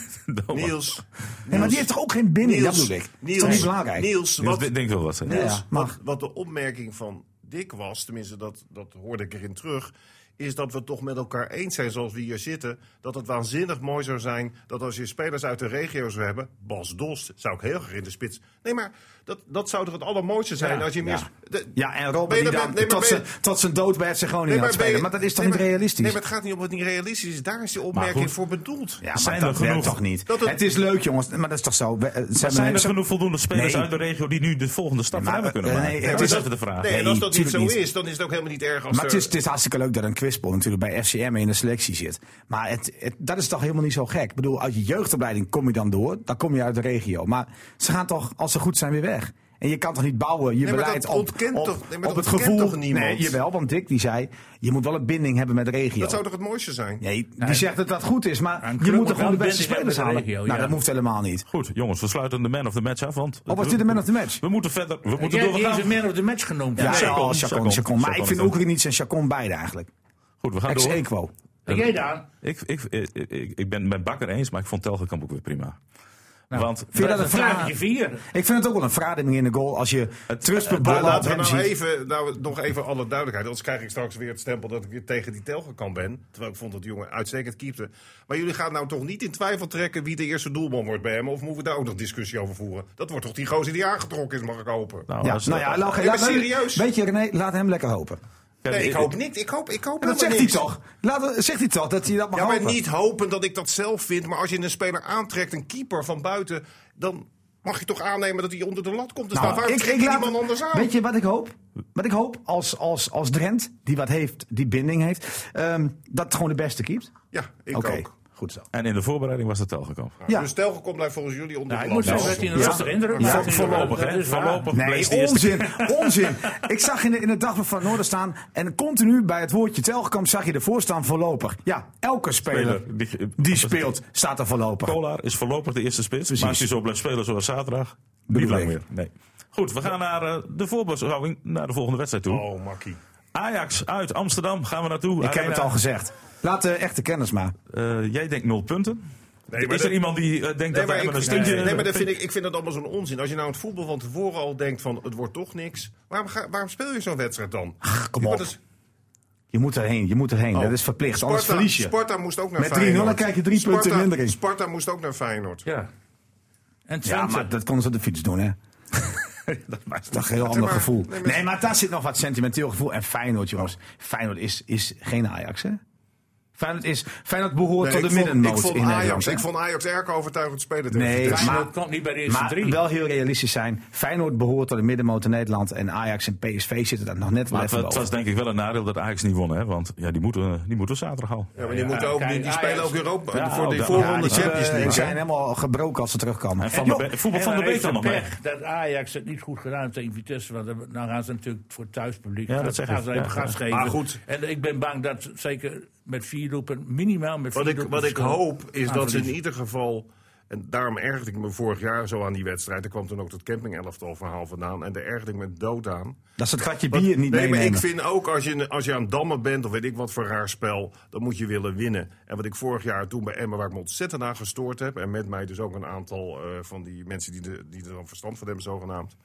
E: Niels.
C: Nee, maar die heeft toch ook geen binding? Dat bedoel ik. Dat is toch niet belangrijk?
E: Niels,
B: Wat?
E: wat,
B: Ik denk wel wat. hè?
C: Ja, ja,
E: Niels,
C: mag.
E: wat, wat de opmerking van Dick was, tenminste dat, dat hoorde ik erin terug, is dat we het toch met elkaar eens zijn zoals we hier zitten, dat het waanzinnig mooi zou zijn dat als je spelers uit de regio zou hebben, Bas Dost zou ik heel graag in de spits Nee, maar dat, dat zou toch het allermooiste zijn
D: Ja,
E: als je meer.
C: ja.
E: de-
C: Ja, en
E: Ben
C: Robben
E: je
C: die
E: dan
C: daar
E: met- nee, maar
C: tot,
E: ben
C: zijn,
E: je-
C: tot zijn dood bij het zich gewoon niet aan het
E: ben je-
C: spelen. Maar dat is toch
E: nee,
C: niet
E: maar-
C: realistisch?
E: Nee, maar het gaat niet om dat het niet realistisch is. Daar is die opmerking
B: goed.
E: voor bedoeld.
C: ja, maar
B: zijn
C: dat
B: er genoeg-
C: werkt toch niet?
E: Dat
C: Het,
E: het-
C: is leuk, jongens, maar dat is toch zo? We- eh, ze hebben-
B: Zijn er
C: ze-
B: genoeg voldoende spelers
C: Nee.
B: uit de regio die nu de volgende stap
C: Nee, maar- eh,
B: hebben kunnen maken?
C: nee,
B: dat
C: het
B: is
C: is-
B: even de vraag.
E: Nee, en
C: Nee,
E: als dat niet zo
C: tuurlijk niet.
E: is, dan is het ook helemaal niet erg als
C: Maar het
E: er-
C: is, het is hartstikke leuk dat een quizbol natuurlijk bij FCM in de selectie zit. Maar het, het- dat is toch helemaal niet zo gek. Ik bedoel, uit je jeugdopleiding kom je dan door, dan kom je uit de regio. Maar ze gaan toch, als ze goed zijn, weer weg. En je kan toch niet bouwen je
E: Nee, maar
C: beleid
E: dat
C: op,
E: ontkent
C: op,
E: toch- nee, maar
C: op
E: dat
C: het
E: ontkent
C: gevoel...
E: toch niemand?
C: Nee, jawel, want Dick die zei, je moet wel een binding hebben met de regio.
E: Dat zou toch het mooiste zijn?
C: Nee, die zegt dat dat goed is, maar
D: Een
C: je
D: club
C: moet er
D: moet
C: gewoon de
D: wel
C: beste
D: een band
C: spelers
D: hebben
C: halen.
D: met de regio,
C: Nou,
D: ja.
C: dat hoeft helemaal niet.
B: Goed, jongens, we sluiten de man of the match af. Want
C: Of was Oh, dit de man of the match?
B: We moeten verder. We moeten
D: Jij
B: door. We
D: die is
B: gaan.
D: een man of the match genoemd.
C: Ja,
D: Ja.
B: Chacon,
C: Chacon,
B: Chacon,
C: Chacon, Chacon. Maar ik vind
B: Chacon.
C: Oekraïens en Chacon beide eigenlijk.
B: Goed, we gaan door.
C: Ex-equo.
D: En jij daar?
B: Ik, ik, ik, ik, ik ben met Bakker eens, maar ik vond Telgekamp ook weer prima.
C: Nou,
B: Want
C: Vind je dat
D: Dat
C: een
D: is een
C: vraag?
D: vlaagje vier.
C: Ik vind het ook wel een verademing in de goal als je Trust
E: Maar
C: beballen
E: laten we
C: hem
E: nou
C: ziet.
E: even, nou, nog even alle duidelijkheid. Anders krijg ik straks weer het stempel dat ik weer tegen die Telgekamp ben. Terwijl ik vond dat die jongen uitstekend keepte. Maar jullie gaan nou toch niet in twijfel trekken wie de eerste doelman wordt bij hem? Of moeten we daar ook nog discussie over voeren? Dat wordt toch die gozer die aangetrokken is, mag ik hopen?
B: Nou,
C: Ja,
B: als-
C: nou ja, laat,
E: Nee, maar
C: laat-
E: serieus.
C: Weet je, René, laat hem lekker hopen.
B: Kijk,
E: nee, ik hoop niet. Ik hoop, ik hoop
C: En dat
E: helemaal
C: zegt hij
E: niks.
C: toch? Laat, zegt hij toch dat hij dat mag
E: Ja, maar
C: hopen?
E: niet hopen dat ik dat zelf vind. Maar als je een speler aantrekt, een keeper van buiten, dan mag je toch aannemen dat hij onder de lat komt te
C: Nou,
E: staan. Waarom trek je die man anders aan?
C: Weet je wat ik hoop? Wat ik hoop als, als, als Drent, die wat heeft, die binding heeft, ehm, dat het gewoon de beste keept.
E: Ja, ik
C: Oké,
E: ook.
C: goed zo.
B: En in de voorbereiding was het Telgekamp.
C: Ja.
E: Dus Telgekamp blijft volgens jullie onder
D: Ja,
E: de
D: ik
E: lat. Nou,
D: moet zeggen dat hij een
C: Ja.
D: lastige indruk
C: Ja,
D: maakt.
B: voorlopig,
D: Dat
B: hè?
D: is waar.
B: Voorlopig.
C: Nee,
B: Lees de eerste.
C: onzin, onzin. Ik zag in, de- in het dagblad van het Noorden staan en continu bij het woordje Telgekamp zag je ervoor staan voorlopig. Ja, elke speler,
B: Speler, die-
C: die, speelt staat er voorlopig.
B: Kolar is voorlopig de eerste spits. Maar als hij zo blijft spelen zoals zaterdag, niet
C: Bedoel
B: lang
C: ik.
B: meer. Nee. Goed, we gaan naar eh, de voorbeschouwing, naar de volgende wedstrijd toe.
E: Oh, makkie.
B: Ajax uit Amsterdam gaan we naartoe.
C: Ik heb het al gezegd. Laat de echte kennis maar.
B: Eh, jij denkt nul punten.
E: Nee, maar
B: is er
E: dat-
B: iemand die eh, denkt
E: Nee,
B: dat
E: maar,
B: we
E: ik,
B: een
E: nee,
B: stuntje...
E: nee, maar dat vind ik, ik vind dat allemaal zo'n onzin. Als je nou het voetbal van tevoren al denkt van het wordt toch niks. Waarom, ga, waarom speel je zo'n wedstrijd dan?
C: kom
E: Je
C: op.
E: wordt eens-
C: Je moet erheen, je moet erheen. Dat is verplicht, anders
E: Oh. Sparta,
C: verlies je.
E: Sparta moest ook naar
C: Met 3-0
E: Feyenoord.
C: dan krijg je drie punten
E: Sparta-
C: minder in.
E: Sparta moest ook naar Feyenoord.
D: Ja. En
C: Ja,
D: Twente.
C: maar dat konden ze op de fiets doen, hè? dat is toch een heel ander
E: maar-
C: gevoel.
E: nee, maar-
C: Nee, maar daar zit nog wat sentimenteel gevoel. En Feyenoord, jongens. Feyenoord is, is geen Ajax, hè? Feyenoord, is, Feyenoord behoort tot
E: Nee,
C: de
E: ik, vond,
C: middenmoot
E: ik vond
C: in Nederland.
E: Ajax,
C: hè?
E: ik vond Ajax erg overtuigend spelen. tegen
C: Nee,
E: Vitesse.
D: Maar
C: maar-
D: dat komt niet bij de eerste
C: maar
D: drie.
C: wel heel realistisch zijn. Feyenoord behoort tot de middenmoot in Nederland. En Ajax en PSV zitten daar nog net wel
B: Maar het,
C: even
B: wa- het
C: boven.
B: was denk ik wel een nadeel dat Ajax niet won, hè? Want ja, die moeten, die moeten zaterdag al.
E: Ja, maar die, moeten ook,
D: kijk,
E: die, die
D: Ajax-
E: spelen ook Europa
B: Ja,
E: voor
B: ook
E: de
B: dat-
C: Ja,
E: voorronde
C: die
E: Champions
C: zijn,
E: League.
C: zijn
E: hè?
C: helemaal gebroken als ze terugkomen.
B: En van
C: Joh,
B: de Be- voetbal van de
D: En dan
B: Beek dan nog
D: heeft het
B: mee.
D: pech dat Ajax het niet goed gedaan heeft tegen Vitesse. Want dan dan gaan ze natuurlijk voor thuispubliek.
B: Ja,
D: gaan-
B: dat zeg
D: gaan
B: ik.
D: ze even
B: Ja,
D: gas
B: ja.
D: geven.
E: Maar goed.
D: En ik ben bang dat zeker met vier doelpunten, minimaal met vier
E: Wat ik,
D: doelpunten Ah,
E: wat ik
D: verschil
E: hoop is
D: gaan
E: dat ze in
D: verliezen.
E: ieder geval. En daarom ergerde ik me vorig jaar zo aan die wedstrijd. Er kwam toen ook dat camping-elftal verhaal vandaan. En daar ergerde ik me dood aan.
C: Dat is het gatje
E: Want-
C: bier niet
E: nee, maar
C: meenemen.
E: ik vind ook als je, als je aan het dammen bent, of weet ik wat voor raar spel, dan moet je willen winnen. En wat ik vorig jaar toen bij Emmen, waar ik me ontzettend aan gestoord heb, en met mij dus ook een aantal eh, van die mensen die, de, die er dan verstand van hebben, zogenaamd.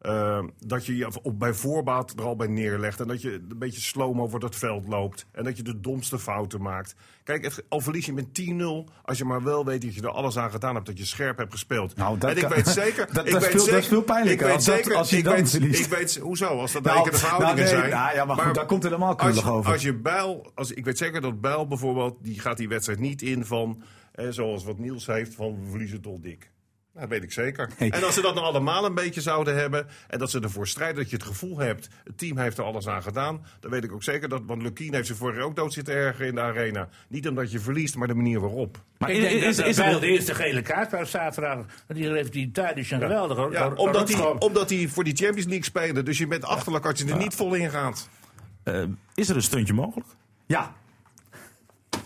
E: eh, dat je je op, bij voorbaat er al bij neerlegt. En dat je een beetje sloom over dat veld loopt. En dat je de domste fouten maakt. Kijk, het- al verlies je met 10-0. Als je maar wel weet dat je er alles aan gedaan hebt. Dat je scherp hebt gespeeld.
C: Nou, dat
E: en ik
C: kan-
E: weet zeker.
C: dat-
E: ik
C: dat
E: weet
C: speelt- dat
E: zeker-
C: speelt pijnlijker
E: Ik weet
C: als dat-
E: zeker.
C: als je
E: ik
C: dan
E: weet-
C: verliest.
E: Ik weet, hoezo? Als dat
C: Nou,
E: nou, de
C: nou,
E: verhoudingen
C: nee,
E: zijn.
C: nou ja, maar goed, daar komt het helemaal
E: als,
C: koelig over.
E: Als je Bijl, als, ik weet zeker dat Bijl bijvoorbeeld, die gaat die wedstrijd niet in van, eh, zoals wat Niels heeft, van we verliezen tot dik. Nou, Dat weet ik zeker.
C: Nee.
E: En als ze dat nou allemaal een beetje zouden hebben. en dat ze ervoor strijden dat je het gevoel hebt. het team heeft er alles aan gedaan. dan weet ik ook zeker dat. Want Lukien heeft ze vorig jaar ook dood zitten erger in de arena. Niet omdat je verliest, maar de manier waarop.
B: Maar
D: Ik
B: is,
D: denk
B: is,
D: dat
B: is
D: is, de
B: er,
D: eerste gele kaart bij zaterdag. Want die heeft die Tadic een geweldige
E: Ja, omdat hij omdat die voor die Champions League spelen. Dus je bent achterlijk als je er niet vol in gaat.
B: eh, is er een stuntje mogelijk?
C: Ja,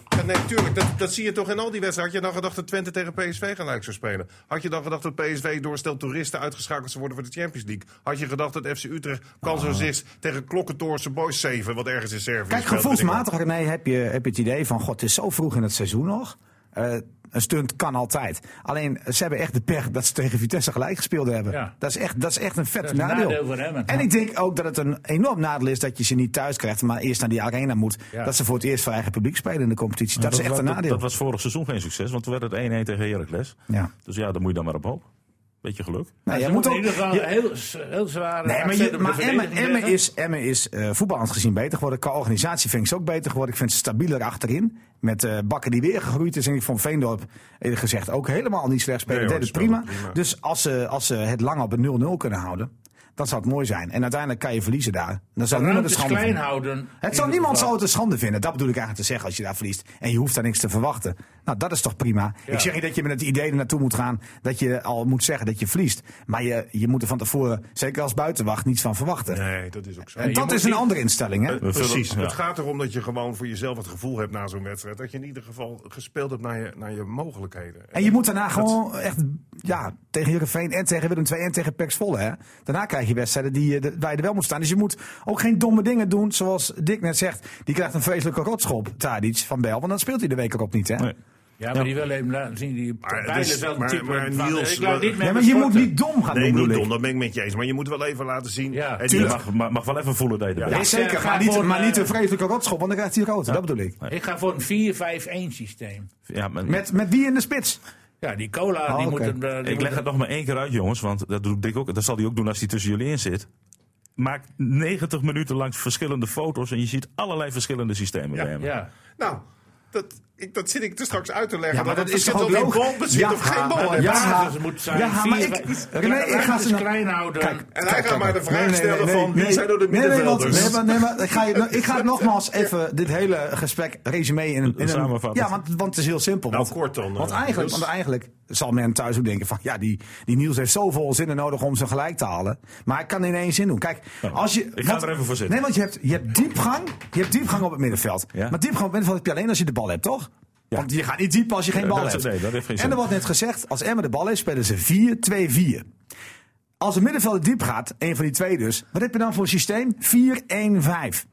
E: Ja, nee, tuurlijk. Dat, dat zie je toch in al die wedstrijden. Had je dan gedacht dat Twente tegen PSV gelijk zou spelen? Had je dan gedacht dat PSV door een stel toeristen uitgeschakeld zou worden voor de Champions League? Had je gedacht dat FC Utrecht kan zo zich tegen Klokkentoornse Boys 7, wat ergens in Servië
C: Ah. Kijk,
E: speelt, weet ik
C: gevoelsmatig René, heb je, heb je het idee van: God, het is zo vroeg in het seizoen nog. Eh, een stunt kan altijd. Alleen ze hebben echt de pech dat ze tegen Vitesse gelijk gespeeld hebben.
D: Ja.
C: Dat, is echt, dat is echt een vet
D: is een nadeel voor hem, hè.
C: en ik denk ook dat het een enorm nadeel is dat je ze niet thuis krijgt, maar eerst naar die arena moet.
D: Ja.
C: Dat ze voor het eerst voor eigen publiek spelen in de competitie. dat, is echt
B: wa-
C: een nadeel.
B: Dat, was vorig seizoen geen succes, want toen werd het 1-1 tegen Heracles.
C: Ja.
B: Dus ja, daar moet je dan maar op hopen. Beetje geluk.
C: Nou,
D: Ze
C: jij moet
D: moeten
C: ook,
D: in ieder geval
C: je-
D: heel, s- heel zware.
C: Nee, maar,
D: accenten op
C: je,
D: de
C: maar Emmen,
D: verdediging
C: Emmen
D: leggen.
C: is, Emmen is eh, voetballend gezien beter geworden. Qua organisatie vind ik ze ook beter geworden. Ik vind ze stabieler achterin. Met eh, Bakker die weer gegroeid is. En ik vond Veendorp, eerlijk gezegd, ook helemaal niet slecht spelen.
E: Nee, hoor,
C: Deed het
E: die speelde
C: prima.
E: prima.
C: Dus als ze, als ze het lang op een 0-0 kunnen houden, dan zou het mooi zijn. En uiteindelijk kan je verliezen daar. Dan zal niemand het
D: Ruimtes
C: schande
D: klein
C: vinden.
D: houden.
C: Het zal
D: In
C: niemand
D: ieder
C: zal
D: geval.
C: het een schande vinden. Dat bedoel ik eigenlijk te zeggen als je daar verliest. En je hoeft daar niks te verwachten. Nou, dat is toch prima. Ik zeg niet dat je met het idee er naartoe moet gaan dat je al moet zeggen dat je verliest. Maar je, je moet er van tevoren, zeker als buitenwacht, niets van verwachten.
E: Nee, dat is ook zo.
C: En dat is een andere instelling, hè?
E: Eh, Precies.
B: vullen-
E: Het
B: ja.
E: gaat erom dat je gewoon voor jezelf het gevoel hebt na zo'n wedstrijd. Dat je in ieder geval gespeeld hebt naar je, naar je mogelijkheden.
C: En je moet daarna gewoon echt ja, tegen Heerenveen en tegen Willem II en tegen Pax Volle. Hè? Daarna krijg je wedstrijden die, je- de- waar je er wel moet staan. Dus je moet ook geen domme dingen doen zoals Dick net zegt. Die krijgt een vreselijke rotschop, Tadic, van Bel. Want dan speelt hij de week erop niet, hè?
B: Nee.
D: Ja, maar die wil even laten zien. Die
E: Maar het
D: pijlen
E: is-
D: wel
E: maar-
D: typen
E: maar
D: van,
E: Niels,
D: ik laat
E: we-
D: niet meer
C: Nee, maar je moet
D: sporten.
C: niet dom gaan
E: Nee,
C: doen,
E: niet
C: bedoel ik.
E: dom, dat ben ik met je eens. Maar je moet wel even laten zien.
D: Ja.
E: En
B: Je
E: die-
B: mag, mag, mag wel even voelen dat je er
C: Ja,
B: bent.
D: Ik,
C: zeker.
D: eh,
C: maar
D: ga
C: niet,
D: voor,
C: maar
D: eh,
C: niet een vreselijke rotschop, want dan krijgt hij rood. Dat bedoel ik.
D: Ik ga voor een 4-5-1 systeem.
B: Ja, maar-
C: Met, met die in de spits.
D: Ja, die cola,
C: Oh,
D: die
C: oké.
D: moet... hem, eh, die
B: Ik
D: moet
B: leg het nog maar één keer uit, jongens. Want dat, doet Dick ook, dat zal hij ook doen als hij tussen jullie in zit. Maak 90 minuten lang verschillende foto's. En je ziet allerlei verschillende systemen bij hem.
D: Ja.
E: Nou, dat, ik, dat zit ik er straks uit te leggen.
C: Ja, maar dat
E: het
C: is toch
E: verschil
C: ook
E: in
C: logisch?
E: balbezit
C: Ja,
E: of geen bal.
C: maar-
E: hebben.
C: Ja,
D: basis dus moet zijn.
C: ja, maar
D: Vier-
C: ik-
D: vijf-
C: René, ik
D: ruimtes
C: ga ze nou-
D: klein houden.
E: En hij gaat maar de vraag stellen van, wie zijn nou de middenvelders?
C: Nee, want- nee, maar- nee, maar ik ga, je, nou, ik ga het nogmaals even dit hele gesprek resume in, een- in een...
B: Samenvatten.
C: Ja, want, want het is heel simpel.
E: Nou,
C: want,
E: kort dan, eh,
C: Want eigenlijk,
E: dus.
C: want eigenlijk zal men thuis ook denken van... Ja, die, die Niels heeft zoveel zinnen nodig om zijn gelijk te halen. Maar hij kan in één zin doen. Kijk, als je...
B: ik ga er even voor zitten.
C: Nee, want je hebt, je hebt diepgang. Je hebt diepgang op het middenveld.
B: Ja.
C: Maar diepgang op het middenveld heb je alleen als je de bal hebt, toch? Want je gaat niet diep als je geen
B: Nee,
C: bal
B: dat-
C: hebt.
B: nee, dat heeft geen
C: en
B: zin.
C: er wordt net gezegd, als Emmen de bal heeft, spelen ze 4-2-4. Als een middenvelder diep gaat, een van die twee dus, wat heb je dan voor een systeem? 4-1-5.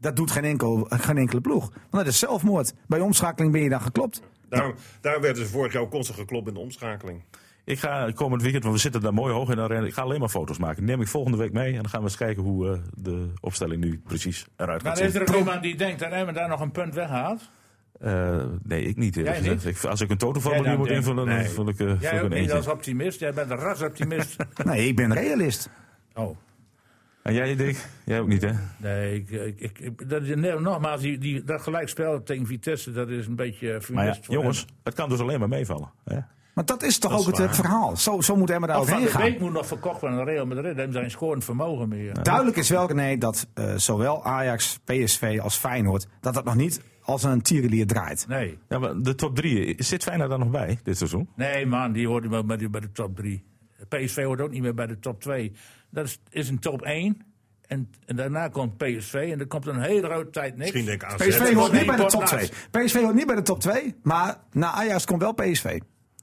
C: Dat doet geen, enkel, geen enkele ploeg. Want dat is zelfmoord. Bij omschakeling ben je dan geklopt.
E: Daar, Nou, daar werden ze vorig jaar ook constant geklopt in de omschakeling.
B: Ik ga komend weekend, want we zitten daar mooi hoog in de arena. Ik ga alleen maar foto's maken. Die neem ik volgende week mee. En dan gaan we eens kijken hoe eh, de opstelling nu precies eruit
D: Maar
B: gaat
D: is
B: zien.
D: er ook iemand die denkt dat Emmen daar nog een punt weghaalt?
B: Eh, nee, ik niet. eerlijk
D: Jij
B: gezegd. Ik, als ik een totoformulier
D: Jij
B: moet
D: dan,
B: invullen, dan
E: nee.
B: vul ik, eh, vul
D: Jij
B: ik
D: ook
B: een
D: niet als
B: eentje.
D: optimist. Jij bent een rasoptimist.
C: Nee, ik ben realist.
D: oh.
B: En jij, Dick? Jij ook niet, hè?
D: Nee, ik, ik, ik- ik- dat, nee, nogmaals, die, die, dat gelijkspel tegen Vitesse, dat is een beetje eh, funest
B: Maar ja,
D: voor
B: jongens,
D: Emmen.
B: het kan dus alleen maar meevallen. Hè?
C: Maar dat is toch
E: Dat
C: ook
E: is
C: het, het
E: waar.
C: verhaal. Zo, zo moet Emma daar
D: Van
C: overheen
D: de
C: gaan.
D: Beek moet nog verkocht worden aan Real Madrid. Daar hebben ze geen scorend vermogen meer.
C: Duidelijk is wel, nee, dat eh, zowel Ajax, PSV als Feyenoord... dat dat nog niet als een tierenlier draait.
D: Nee.
B: Ja, maar de top drie, eh, zit Feyenoord daar nog bij dit seizoen?
D: nee, man, die hoort wel bij, de- bij de top 3. PSV hoort ook niet meer bij de top 2. Dat is, is een top 1. En, en daarna komt PSV en er komt een hele grote tijd niks.
E: Misschien denk ik aan
C: PSV hoort niet bij de
D: Eén
C: top
D: pot
C: 2. PSV hoort niet bij de top 2, maar na Ajax komt wel PSV.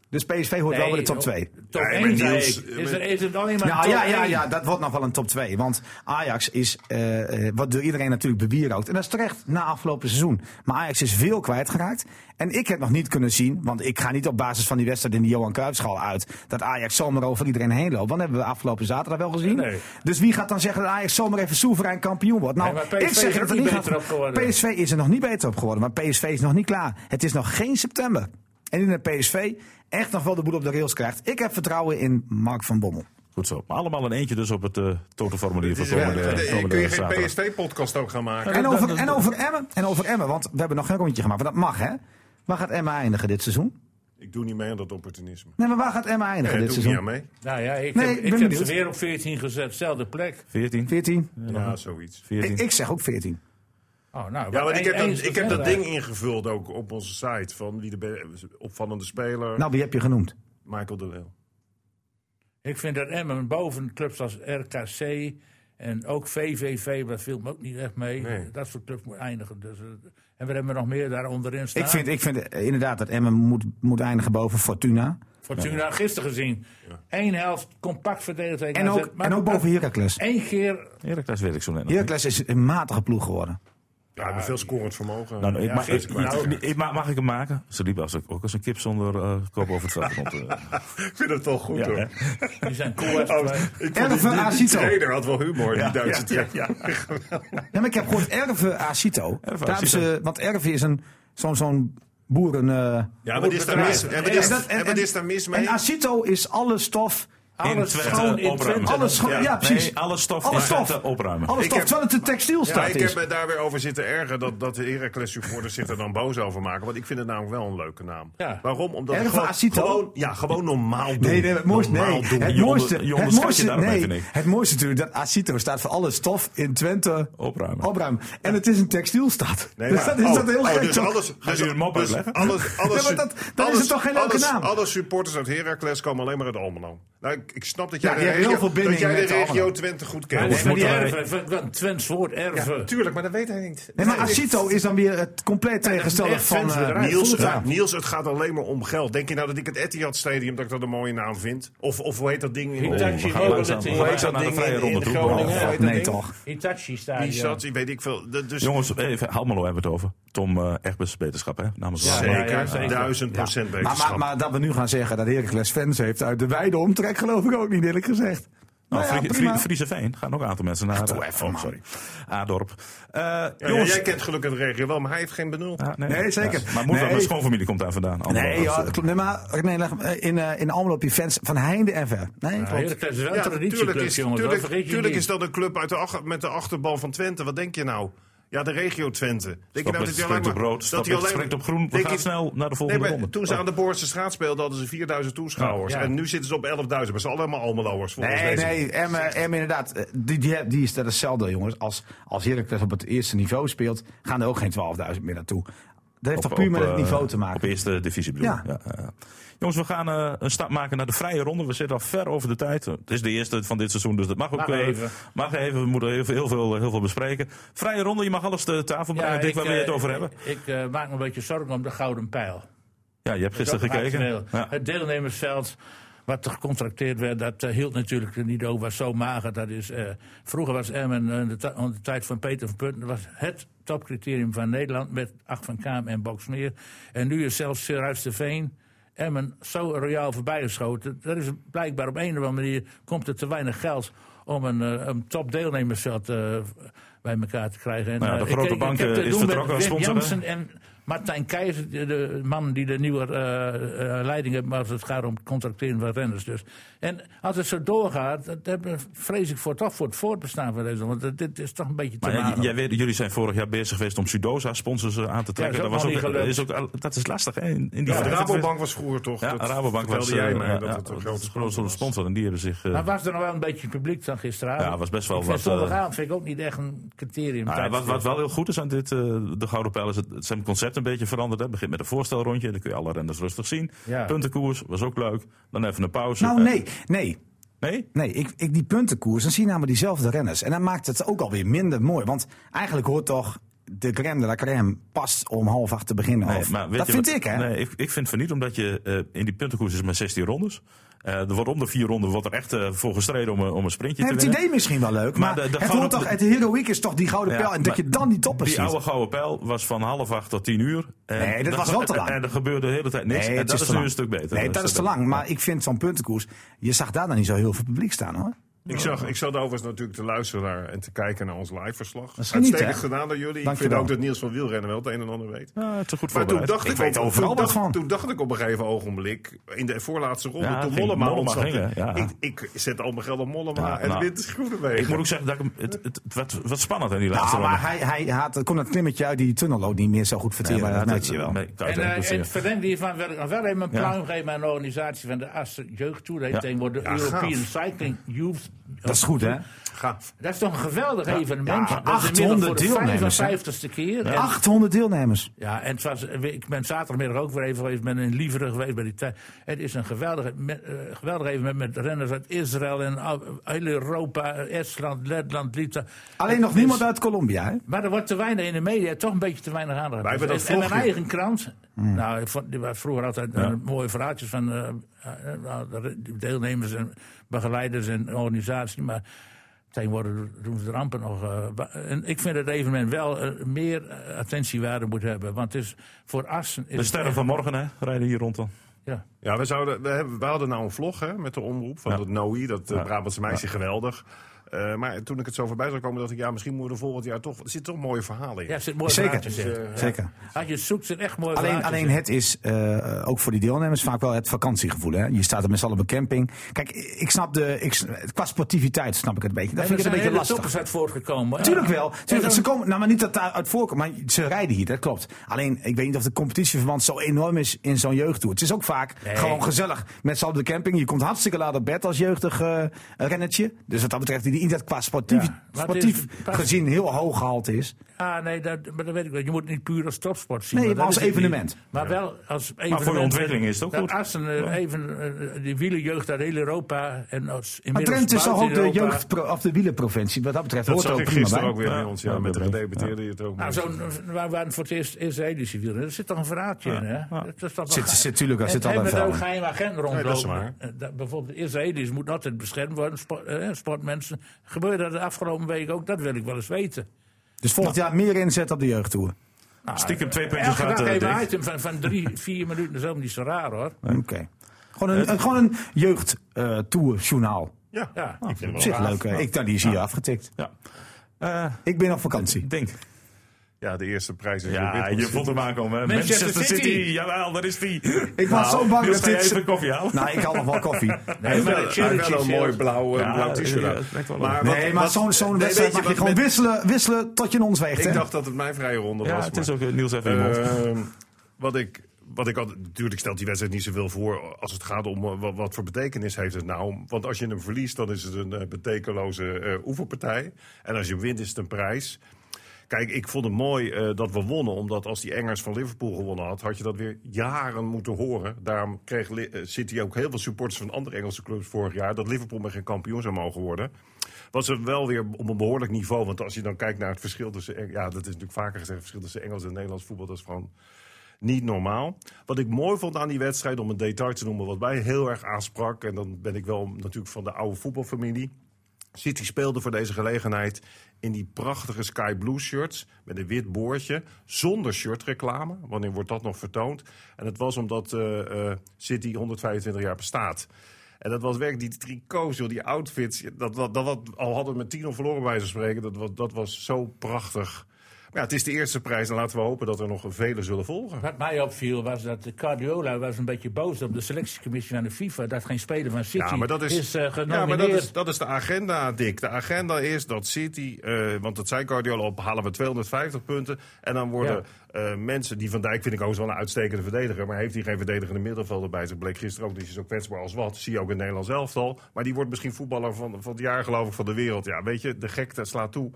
C: Dus PSV hoort wel bij de top 2.
D: oh, Top
E: Nee,
D: 1
E: maar
D: zei
E: Niels,
D: ik.
E: eh,
D: Is, er, is het alleen maar
C: Nou
D: top
C: ja, ja,
D: één?
C: ja, dat wordt nog wel een top 2. Want Ajax is, eh, eh, wat door iedereen natuurlijk bewierookt. En dat is terecht na afgelopen seizoen. Maar Ajax is veel kwijtgeraakt. En ik heb nog niet kunnen zien, want ik ga niet op basis van die wedstrijd in de Johan Cruijffschaal uit. Dat Ajax zomaar over iedereen heen loopt. Want dat hebben we afgelopen zaterdag wel gezien.
D: Nee.
C: Dus wie gaat dan zeggen dat Ajax zomaar even soeverein kampioen wordt? Nou,
D: Nee, maar PSV
C: ik zeg
D: is
C: dat
D: er
C: niet
D: niet
C: gaat-
D: beter op geworden.
C: PSV is er nog niet beter op geworden. Maar PSV is nog niet klaar. Het is nog geen september. En in de PSV echt nog wel de boel op de rails krijgt. Ik heb vertrouwen in Mark van Bommel.
B: Goed zo. Maar allemaal een eentje dus op het eh totoformulier van
E: Dus ja,
B: komende,
E: eh,
B: komende
E: Kun je geen
B: zaterdag.
E: PSV-podcast ook gaan maken?
C: En over, en over Emmen. En over Emmen, want we hebben nog geen rondje gemaakt. Want dat mag, hè? Waar gaat Emmen eindigen dit seizoen?
E: Ik doe niet mee aan dat opportunisme.
C: Nee, maar waar gaat Emmen eindigen
E: Nee, Eh, doe
C: dit
E: ik niet aan
C: seizoen?
E: mee.
D: Nou ja, ik
C: Nee,
D: heb,
C: ik
D: ik
C: ben
D: heb ze
C: benieuwd.
D: weer op 14 gezet, zelfde plek.
B: 14?
C: 14?
E: Ja, zoiets.
B: 14.
C: Ik, ik zeg ook 14.
D: Oh, nou,
E: Ja, want ik heb,
D: één-
E: dat,
D: één
E: ik heb dat
D: verder.
E: ding ingevuld ook op onze site. Van wie de be- opvallende speler,
C: Nou, wie heb je genoemd?
E: Michael de Leeuw.
D: Ik vind dat Emmen boven clubs als RKC en ook VVV, dat viel me ook niet echt mee.
E: Nee.
D: Dat soort clubs moet eindigen. Dus, eh, en we hebben nog meer daar onderin staan.
C: Ik vind, ik vind eh, inderdaad dat Emmen moet, moet eindigen boven Fortuna.
D: Fortuna gisteren gezien. Eén helft compact verdedigd tegen
C: En
D: AZ,
C: ook,
D: maar
C: en ook boven Heracles.
D: Eén keer
B: Heracles weet ik zo net nog niet.
C: Heracles is een matige ploeg geworden.
E: Ja, hebben veel scorend vermogen.
B: Nou, nou, ik
E: Ja,
B: mag,
E: steeds
B: ik,
E: kwijt.
B: nou, ik- mag, mag ik hem maken? Ze liep als, ook als een kip zonder eh, kop over het veld. rond, eh.
E: ik vind het wel goed
B: Ja, hè?
E: hoor.
D: die zijn cool. hè,
E: Oh,
D: twee.
E: ik vond
C: Erven
E: die- die,
C: Acito.
E: trainer had wel humor, die Duitse
B: ja,
E: trainer.
C: Ja, maar ik heb gehoord Erve Acito. Daar
B: Erve
C: hebben
B: Acito.
C: ze, want Erve is een, zo'n, zo'n boeren... eh,
E: Ja, wat is daar mis, en wat
C: Ja,
E: is,
C: dat- en-
E: en wat is daar mis mee?
C: En Acito is alle stof
D: Alles
B: Twente
D: schoon in
B: opruimen.
D: Twente.
C: Alles schoon,
E: Ja,
C: ja, precies.
B: Nee, alle stof
C: Alle
B: in
C: stof.
B: Twente opruimen.
C: Alles
E: Ik
C: toch,
E: heb-
C: terwijl het een
E: Ja,
C: textielstaat
E: ik
C: is.
E: heb me daar weer over zitten erger dat, dat de Heracles supporters zich er dan boos over maken. Want ik vind het namelijk wel een leuke naam.
D: Ja.
E: Waarom? Omdat
C: Erg
E: het gewoon,
C: van Acito?
E: gewoon, ja, gewoon normaal doen.
C: Nee, nee, het mooiste, nee.
E: Normaal
C: Het
E: doen.
B: Je onder-
C: mooiste,
B: je
C: het
B: onderscheidt
C: mooiste,
B: je daarmee,
C: nee,
B: vind ik.
C: het mooiste natuurlijk dat Acito staat voor alle stof in Twente
B: Opruimen.
C: opruimen. En het is een textielstad.
E: Nee,
C: dus
E: maar-
C: dat is
E: oh,
C: dat heel
E: oh,
C: gek
E: dus
C: toch?
E: alles,
B: Gaat
E: dus,
B: u een mop
E: dus
B: uitleggen?
E: alles, alles,
C: Ja, maar dat- dan is het toch geen leuke
E: alles,
C: naam?
E: Alle supporters uit Heracles komen alleen maar uit Almelo. Nou, ik, ik snap dat jij
C: Ja,
E: de
C: die hebben
E: regio,
C: heel veel binding
E: dat jij de
C: met
E: regio
C: Almelo.
E: Twente goed
D: Ja,
E: kent.
D: nee, maar die
B: moeten wij-
D: erven, wat- wat- Twents woord erven.
E: Tuurlijk, maar dat weet hij niet.
C: Nee, maar Acito is dan weer het compleet tegenstelde
D: echt
C: van eh,
D: fansbedrijf.
E: Niels,
C: Fulta.
E: het, Niels, het gaat alleen maar om geld. Denk je nou dat ik het Etihad Stadium dat ik dat een mooie naam vind? Of, of hoe heet dat ding? in-
D: Hitachi
E: Oh, we gaan
D: Mobility.
E: langzaam-
D: Hoe
E: Hoe
D: heet
B: dat
E: heet dat
B: nou, de
E: ding
B: vrije
E: in-
B: ronde
E: in
B: troepen?
E: Groningen? Hoe heet dat
C: Nee,
E: ding?
C: toch.
D: Hitachi
E: Die
D: Stadion.
E: zat, ik weet ik veel. Dat- Dus
B: Jongens, even Halmelo hebben we het over. Tom eh Egbers, beterschap hè? Namens Nou, ons.
E: zeker,
D: ja, zeker.
E: duizend procent
C: Maar,
E: beterschap.
C: maar, maar dat we nu gaan zeggen dat Heracles fans heeft uit de wijde omtrek, geloof ik ook niet eerlijk gezegd.
B: Nou,
C: Nou ja,
B: Vrie-
C: prima.
B: Vrie- Friese Veen gaan ook een aantal mensen naar.
C: doe even,
B: oh,
C: man.
B: sorry. Adorp. Eh,
E: Ja,
B: jongens. Ah,
E: jij kent gelukkig de regio wel, maar hij heeft geen benul.
B: Ja,
C: Nee, zeker.
B: Maar moet wel,
C: Nee.
B: mijn schoonfamilie komt daar vandaan. Allemaal eh,
C: Nee, ja,
B: afzetten.
C: klopt. nee, maar nee, leg, eh, in, eh, in Almelo heb je fans van heinde en ver. Nee, klopt.
D: Heracles is wel
E: Ja,
D: een
E: tuurlijk
D: traditieclub,
E: is,
D: jongens.
E: tuurlijk,
D: dat vergeet je
E: tuurlijk
D: niet.
E: is dat een club uit de ach- met de achterban van Twente. Wat denk je nou? Ja, de regio Twente. Denk je
B: Stop
E: nou
B: met
E: dat hij alleen
B: springt
E: maar...
B: op rood, stop
E: dat hij
B: met
E: alleen
B: springt op groen. We
E: Denk
B: gaan
E: je-
B: snel naar de
E: Nee,
B: volgende
E: maar
B: ronde. Oh.
E: toen ze aan de Boorse straat speelden, hadden ze 4000 toeschouwers.
D: Ja, ja.
E: En nu zitten ze op 11.000. Maar ze zijn allemaal Almeloers, volgens
C: Nee,
E: deze.
C: nee, Em, eh, Em inderdaad. eh, Die, die, die is dat hetzelfde, jongens. Als, als Heracles op het eerste niveau speelt, gaan er ook geen 12.000 meer naartoe. Dat heeft
B: Op-
C: toch puur
B: op,
C: met het
B: eh,
C: niveau te
B: Op
C: maken.
B: eerste divisie bedoel ik.
C: Ja.
B: Ja. eh. Jongens, we gaan eh, een stap maken naar de vrije ronde. We zitten al ver over de tijd. Het is de eerste van dit seizoen, dus dat mag ook
D: Mag
B: weer.
D: even.
B: Mag even, we moeten heel veel, heel, veel, eh, heel veel bespreken. Vrije ronde, je mag alles te tafel brengen. Dick,
D: ik,
B: waar wil je het
D: eh,
B: over hebben?
D: Ik eh, maak me een beetje zorgen om de Gouden Pijl.
B: Ja, je hebt gisteren
D: Dat maakt
B: gekeken.
D: veel.
B: Ja.
D: Het deelnemersveld, wat er gecontracteerd werd, dat eh, hield natuurlijk niet over. Was zo mager. Dat is, eh, vroeger was Emmen eh, in de, ti- in de tijd van Peter van Punten was het topcriterium van Nederland met Acht van Kaam en Boksmeer. En nu is zelfs Ruijs de Veen. Emmen zo royaal voorbij geschoten. Dat is blijkbaar op een of andere manier komt er te weinig geld om een, eh, een top deelnemersveld eh, bij elkaar te krijgen. En,
B: Nou ja, de
D: eh,
B: grote
D: ik keek- ik
B: bank,
D: heb
B: eh,
D: te
B: is
D: doen met
B: vertrokken als
D: Wim
B: sponsor, hè?
D: Jansen en Martijn Keizer, de, de man die de nieuwe eh, eh, leiding heeft, maar als het gaat om het contracteren van renners. Dus. En als het zo doorgaat, dat hebben- vrees ik voor, toch voor het voortbestaan van deze. Want dit- dit is toch een beetje te
B: Maar ja,
D: mager.
B: j- jij weet, jullie zijn vorig jaar bezig geweest om Sudosa-sponsors eh, aan te trekken.
D: is ook
B: dat,
D: nog
B: was
D: niet
B: ook,
D: gelukt.
B: is ook, dat is lastig, hè? In, in die
E: Ja, de
B: tijd.
E: Rabobank was vroeger toch?
B: Ja,
E: dat
B: Rabobank was,
E: vertelde jij
B: eh,
E: mij
B: ja,
E: dat
B: ja,
E: het een
B: dat
E: grote
B: is een grote
E: sponsor was.
B: sponsor. En die hebben zich... eh,
D: Maar was er nog wel een beetje publiek dan gisteravond?
B: Ja, was best wel
D: ik vind
B: wat, eh,
D: Zondagavond vind ik ook niet echt een criterium.
B: Nou ja,
D: tijdens
B: wat, wat
D: dit.
B: wel heel goed is aan dit, eh, de Gouden Pijl, is het, het zijn concept een beetje veranderd. hè. Het begint met een voorstelrondje, dan kun je alle renners rustig zien.
D: Ja.
B: Puntenkoers, was ook leuk. Dan even een pauze.
C: Nou,
B: Eh,
C: nee, nee.
B: nee?
C: Nee, ik, ik, die puntenkoers, dan zie je namelijk diezelfde renners. En dan maakt het ook alweer minder mooi. Want eigenlijk hoort toch de crème de la crème pas om half acht te beginnen.
B: Nee,
C: of-
B: maar weet
C: dat
B: je
C: vind
B: wat-
C: ik, hè?
B: Nee, ik, ik vind van niet, omdat je eh, in die puntenkoers is maar 16 rondes. Eh er wordt om de vier ronden wordt er echt eh, voor gestreden om, een- om een sprintje
C: Nee,
B: te
C: het
B: winnen.
C: idee misschien wel leuk, maar,
B: de- de
C: het,
B: gouden-
C: hoort toch, het heroïek is toch die gouden
B: Ja,
C: pijl. En dat
B: maar
C: je dan die toppen
B: Die
C: ziet.
B: oude gouden pijl was van half acht tot tien uur. En
C: Nee, dat was wel te lang.
B: En er gebeurde de hele tijd niks. en
C: het
B: dat is, nu
C: lang.
B: een stuk beter.
C: Nee, dat is te lang. Maar ik vind zo'n puntenkoers. Je zag daar dan niet zo heel veel publiek staan hoor.
E: Ik zag, ik zat overigens natuurlijk te luisteren naar en te kijken naar ons live verslag.
C: is geniet,
E: Uitstekend
C: hè?
E: gedaan door jullie. ik vind
C: Dankjewel.
E: ook dat Niels van Wielrennen wel het een en ander weet.
B: Ja, het is goed
E: Maar toen
B: voorbereid.
E: dacht ik,
C: weet
E: op,
C: overal
E: toen,
C: wat
E: dacht,
C: van.
E: toen dacht ik op een gegeven ogenblik, in de voorlaatste ronde,
B: Ja,
E: toen
B: ging
E: Mollema
B: Mollema
E: ontsnapte,
B: gingen, ja.
E: Ik, ik zet al mijn geld op Mollema
B: Ja,
E: en
B: nou,
E: wint de Groenewegen.
B: Ik moet ook zeggen dat ik hem- het, het, het werd wat spannend in die laatste
C: Nou,
B: ronde.
C: maar hij, hij had, er kon dat klimmetje uit die tunnel ook niet meer zo goed verteren.
B: Ja, maar
C: dat
B: dat-
C: merk je wel.
B: nee, ik kan
D: En,
B: het echt
D: eh, en
B: niet
D: het
B: zeggen.
D: verlengde hiervan wil ik nog wel even een
B: dus, Ja.
D: pluim geven aan de organisatie van de Assen Jeugd Tour. Dat heet
B: Ja.
D: tegenwoordig de
E: Ja, gaaf.
D: European Cycling Youth. eh,
C: Dat is goed hè?
E: Gaaf.
D: Dat is toch een geweldig evenement.
C: ja,
D: dat is inmiddels voor
C: 800 deelnemers, hè?
D: de 55ste keer. En-
C: 800 deelnemers.
D: Ja, en het was, ik ben zaterdagmiddag ook weer even geweest. ben in Lieveren geweest bij die tijd. Het is een geweldig, me- eh, geweldig evenement met renners uit Israël en al- heel Europa, Estland, Letland, Litouwen.
C: Alleen nog
D: Het is-
C: niemand uit Colombia hè?
D: Maar er wordt te weinig in de media, toch een beetje te weinig aandacht. Dus
E: Wij hebben dat
D: en mijn
E: vlogje.
D: eigen krant.
C: Hmm.
D: Nou, ik vond, die was vroeger altijd eh, mooie verhaaltjes van eh, eh, de deelnemers en begeleiders en organisatie. Maar tegenwoordig doen ze de rampen nog. eh, wa- en ik vind het evenement wel eh, meer eh, atentiewaarde moet hebben. Want het is voor Assen. Is
B: De
D: het
B: sterren
D: echt-
B: van morgen hè, rijden hier rond dan.
D: Ja.
E: Ja, we, zouden, we, hebben, we hadden nou een vlog hè, met de omroep van
B: Ja.
E: dat NOI, dat eh, Brabantse meisje, geweldig. Eh, Eh, maar toen ik het zo voorbij zag komen, dacht ik, ja, misschien moeten we er volgend jaar toch. Er zitten toch mooie verhalen in.
D: Ja, er zit mooi
C: Zeker.
D: verhaaltjes in.
C: Zeker.
D: Als je het zoekt, zit echt mooi
C: Alleen,
D: verhaaltjes
C: alleen
D: in.
C: het is eh, ook voor die deelnemers vaak wel het vakantiegevoel. Hè? Je staat er met z'n allen op een camping. Kijk, ik snap de. Ik, s- qua sportiviteit snap ik het een beetje. Dat
D: En
C: vind
D: er
C: ik het
D: zijn
C: een beetje lastig.
D: hele toppers uit voortgekomen.
C: Tuurlijk wel. Tuurlijk,
D: dan-
C: ze komen, nou, maar niet dat daaruit voorkomt. Maar ze rijden hier, dat klopt. Alleen, ik weet niet of de competitieverband zo enorm is in zo'n jeugdtoer. Het is ook vaak
D: Nee.
C: gewoon gezellig met z'n allen op de camping. Je komt hartstikke laat op bed als jeugdig eh rennertje. Dus wat dat betreft, die dat qua sportief,
D: Ja, maar het is-
C: sportief gezien heel hoog gehalte is.
D: Ah, nee, dat, maar dat weet ik wel. Je moet het niet puur als topsport zien.
C: Nee,
D: want
C: maar
D: dat
C: als
D: is het niet.
C: evenement.
D: Maar wel als evenement.
B: voor de ontwikkeling is het ook
D: Dat
B: goed.
D: Als een, eh, even, eh, die wielerjeugd uit heel Europa. En als,
C: Maar
D: inmiddels
C: Drenthe is toch
D: buiten
C: ook de
D: Europa.
C: jeugd of de wielenprovincie. Wat dat betreft
E: dat
C: hoort er
E: zag
C: ook
E: ik
C: prima
E: gisteren
C: bij.
E: ook weer bij ons. Ja,
B: Ja,
E: met de
B: dat weet ik.
E: gedeputeerde je het ook.
D: Nou,
E: mee.
D: zo'n, waar waren voor het eerst Israëlische wielen. Er zit toch een verraadje in, hè? Dat is toch wel
C: Zit-
D: ge-
C: zit tuurlijk, er
D: En-
C: zit
D: en
C: altijd
D: met
C: wel
D: ook
C: in.
D: geheime agent rondlopen.
E: dat is waar.
D: Eh, dat- bijvoorbeeld de Israëli's moeten altijd beschermd worden. Sport, eh, sportmensen. Gebeurde dat de afgelopen week ook? Dat wil ik wel eens weten.
C: Dus volgend
E: Nou.
C: jaar meer inzet op de jeugdtoer.
B: Stiekem twee puntjes
D: Elke
B: gaat
D: dag
B: eh,
D: even een
B: Dick.
D: item van, van drie, vier minuten. Dat is helemaal niet zo raar, hoor.
C: Oké. Gewoon een, een- gewoon een jeugdtoerjournaal.
E: ja.
D: Ja.
E: ik vind het wel
C: Zit
E: gaaf.
C: leuk. hè? Ik, nou, die is hier afgetikt.
B: Ja.
C: Ik ben op vakantie.
B: Denk.
E: Ja, de eerste prijs is weer
B: Ja,
E: wit.
B: je voelt hem aankomen. hè.
D: Manchester
B: Manchester, City.
D: City.
B: Jawel, daar is die.
C: Ik was
E: Nou,
C: zo bang
B: Niels,
C: dat
B: ga je
C: dit-
B: even koffie halen?
C: Nou, ik had nog wel koffie.
E: Hij
D: maar
E: heeft
D: de
E: wel, hij heeft
D: charity
E: wel een
D: shield.
E: mooi blauw, eh,
B: Ja,
E: blauw t-shirt
B: ja,
E: aan.
B: het lijkt wel
E: Maar
B: op.
E: wat-
C: Nee, maar
E: wat-
C: zo'n zo'n
E: nee,
C: wedstrijd
E: weet
C: mag
E: je
C: je
E: wat
C: gewoon
E: met-
C: wisselen, wisselen tot je in ons weegt.
E: Ik
C: hè?
E: dacht dat het mijn vrije ronde was.
B: Ja, het is
E: maar-
B: ook eh, Niels even in je mond.
E: Ehm, wat ik. Wat ik altijd, natuurlijk stelt die wedstrijd niet zoveel voor als het gaat om eh, wat, wat voor betekenis heeft het nou. Want als je hem verliest, dan is het een eh, betekeloze eh oefenpartij. En als je hem wint, is het een prijs. Kijk, ik vond het mooi eh, dat we wonnen. Omdat als die Engers van Liverpool gewonnen had, had je dat weer jaren moeten horen. Daarom kreeg Li- eh, City ook heel veel supporters van andere Engelse clubs vorig jaar. Dat Liverpool maar geen kampioen zou mogen worden. Was er wel weer op een behoorlijk niveau. Want als je dan kijkt naar het verschil tussen. Eng- Ja, dat is natuurlijk vaker gezegd. Het verschil tussen Engels en Nederlands voetbal. Dat is gewoon niet normaal. Wat ik mooi vond aan die wedstrijd, om een detail te noemen, wat mij heel erg aansprak. En dan ben ik wel natuurlijk van de oude voetbalfamilie. City speelde voor deze gelegenheid in die prachtige sky blue shirts met een wit boordje, zonder shirtreclame. Wanneer wordt dat nog vertoond? En dat was omdat eh, eh, City 125 jaar bestaat. En dat was werk, die tricots, joh, die outfits. Dat, dat, dat, wat- al hadden we met 10 verloren bij ze spreken, dat, was- dat was zo prachtig. Maar ja, het is de eerste prijs en laten we hopen dat er nog vele zullen volgen.
D: Wat mij opviel was dat de Guardiola was een beetje boos op de selectiecommissie van de FIFA dat geen speler van City
E: Ja, maar dat is,
D: is eh, genomineerd.
E: ja, maar dat is, dat is de agenda, Dick. De agenda is dat City, eh, want dat zei Guardiola, op halen we 250 punten. En dan worden eh, mensen, die Van Dijk vind ik ook wel een uitstekende verdediger. Maar heeft hij geen verdedigende middenvelder bij zich? Bleek gisteren ook, die is zo kwetsbaar als wat. Zie je ook in het Nederlands elftal. Maar die wordt misschien voetballer van, van het jaar, geloof ik, van de wereld. Ja, weet je, de gekte slaat toe.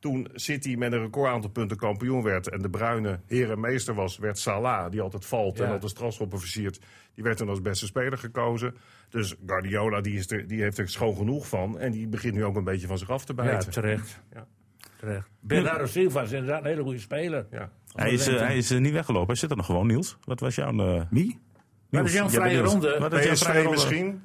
E: Toen City met een record aantal punten kampioen werd en de bruine herenmeester was, werd Salah, die altijd valt en
D: Ja.
E: altijd strafschoppen versiert, die werd dan als beste speler gekozen. Dus Guardiola die is er, die heeft er schoon genoeg van en die begint nu ook een beetje van zich af te
D: ja,
E: bijten.
D: terecht.
E: Ja.
D: terecht. Bernardo Silva is inderdaad een hele goede speler.
C: Oh,
E: Ja.
B: Hij is, eh, hij is eh, niet weggelopen. Hij zit er nog gewoon, Niels. Wat was jouw... eh
C: Wie?
D: Maar dat is jouw
B: Niels? Jij
D: vrije
B: bent Niels.
D: ronde.
B: Wat is jouw vrije
E: PSV
C: eh,
B: ronde?
E: misschien?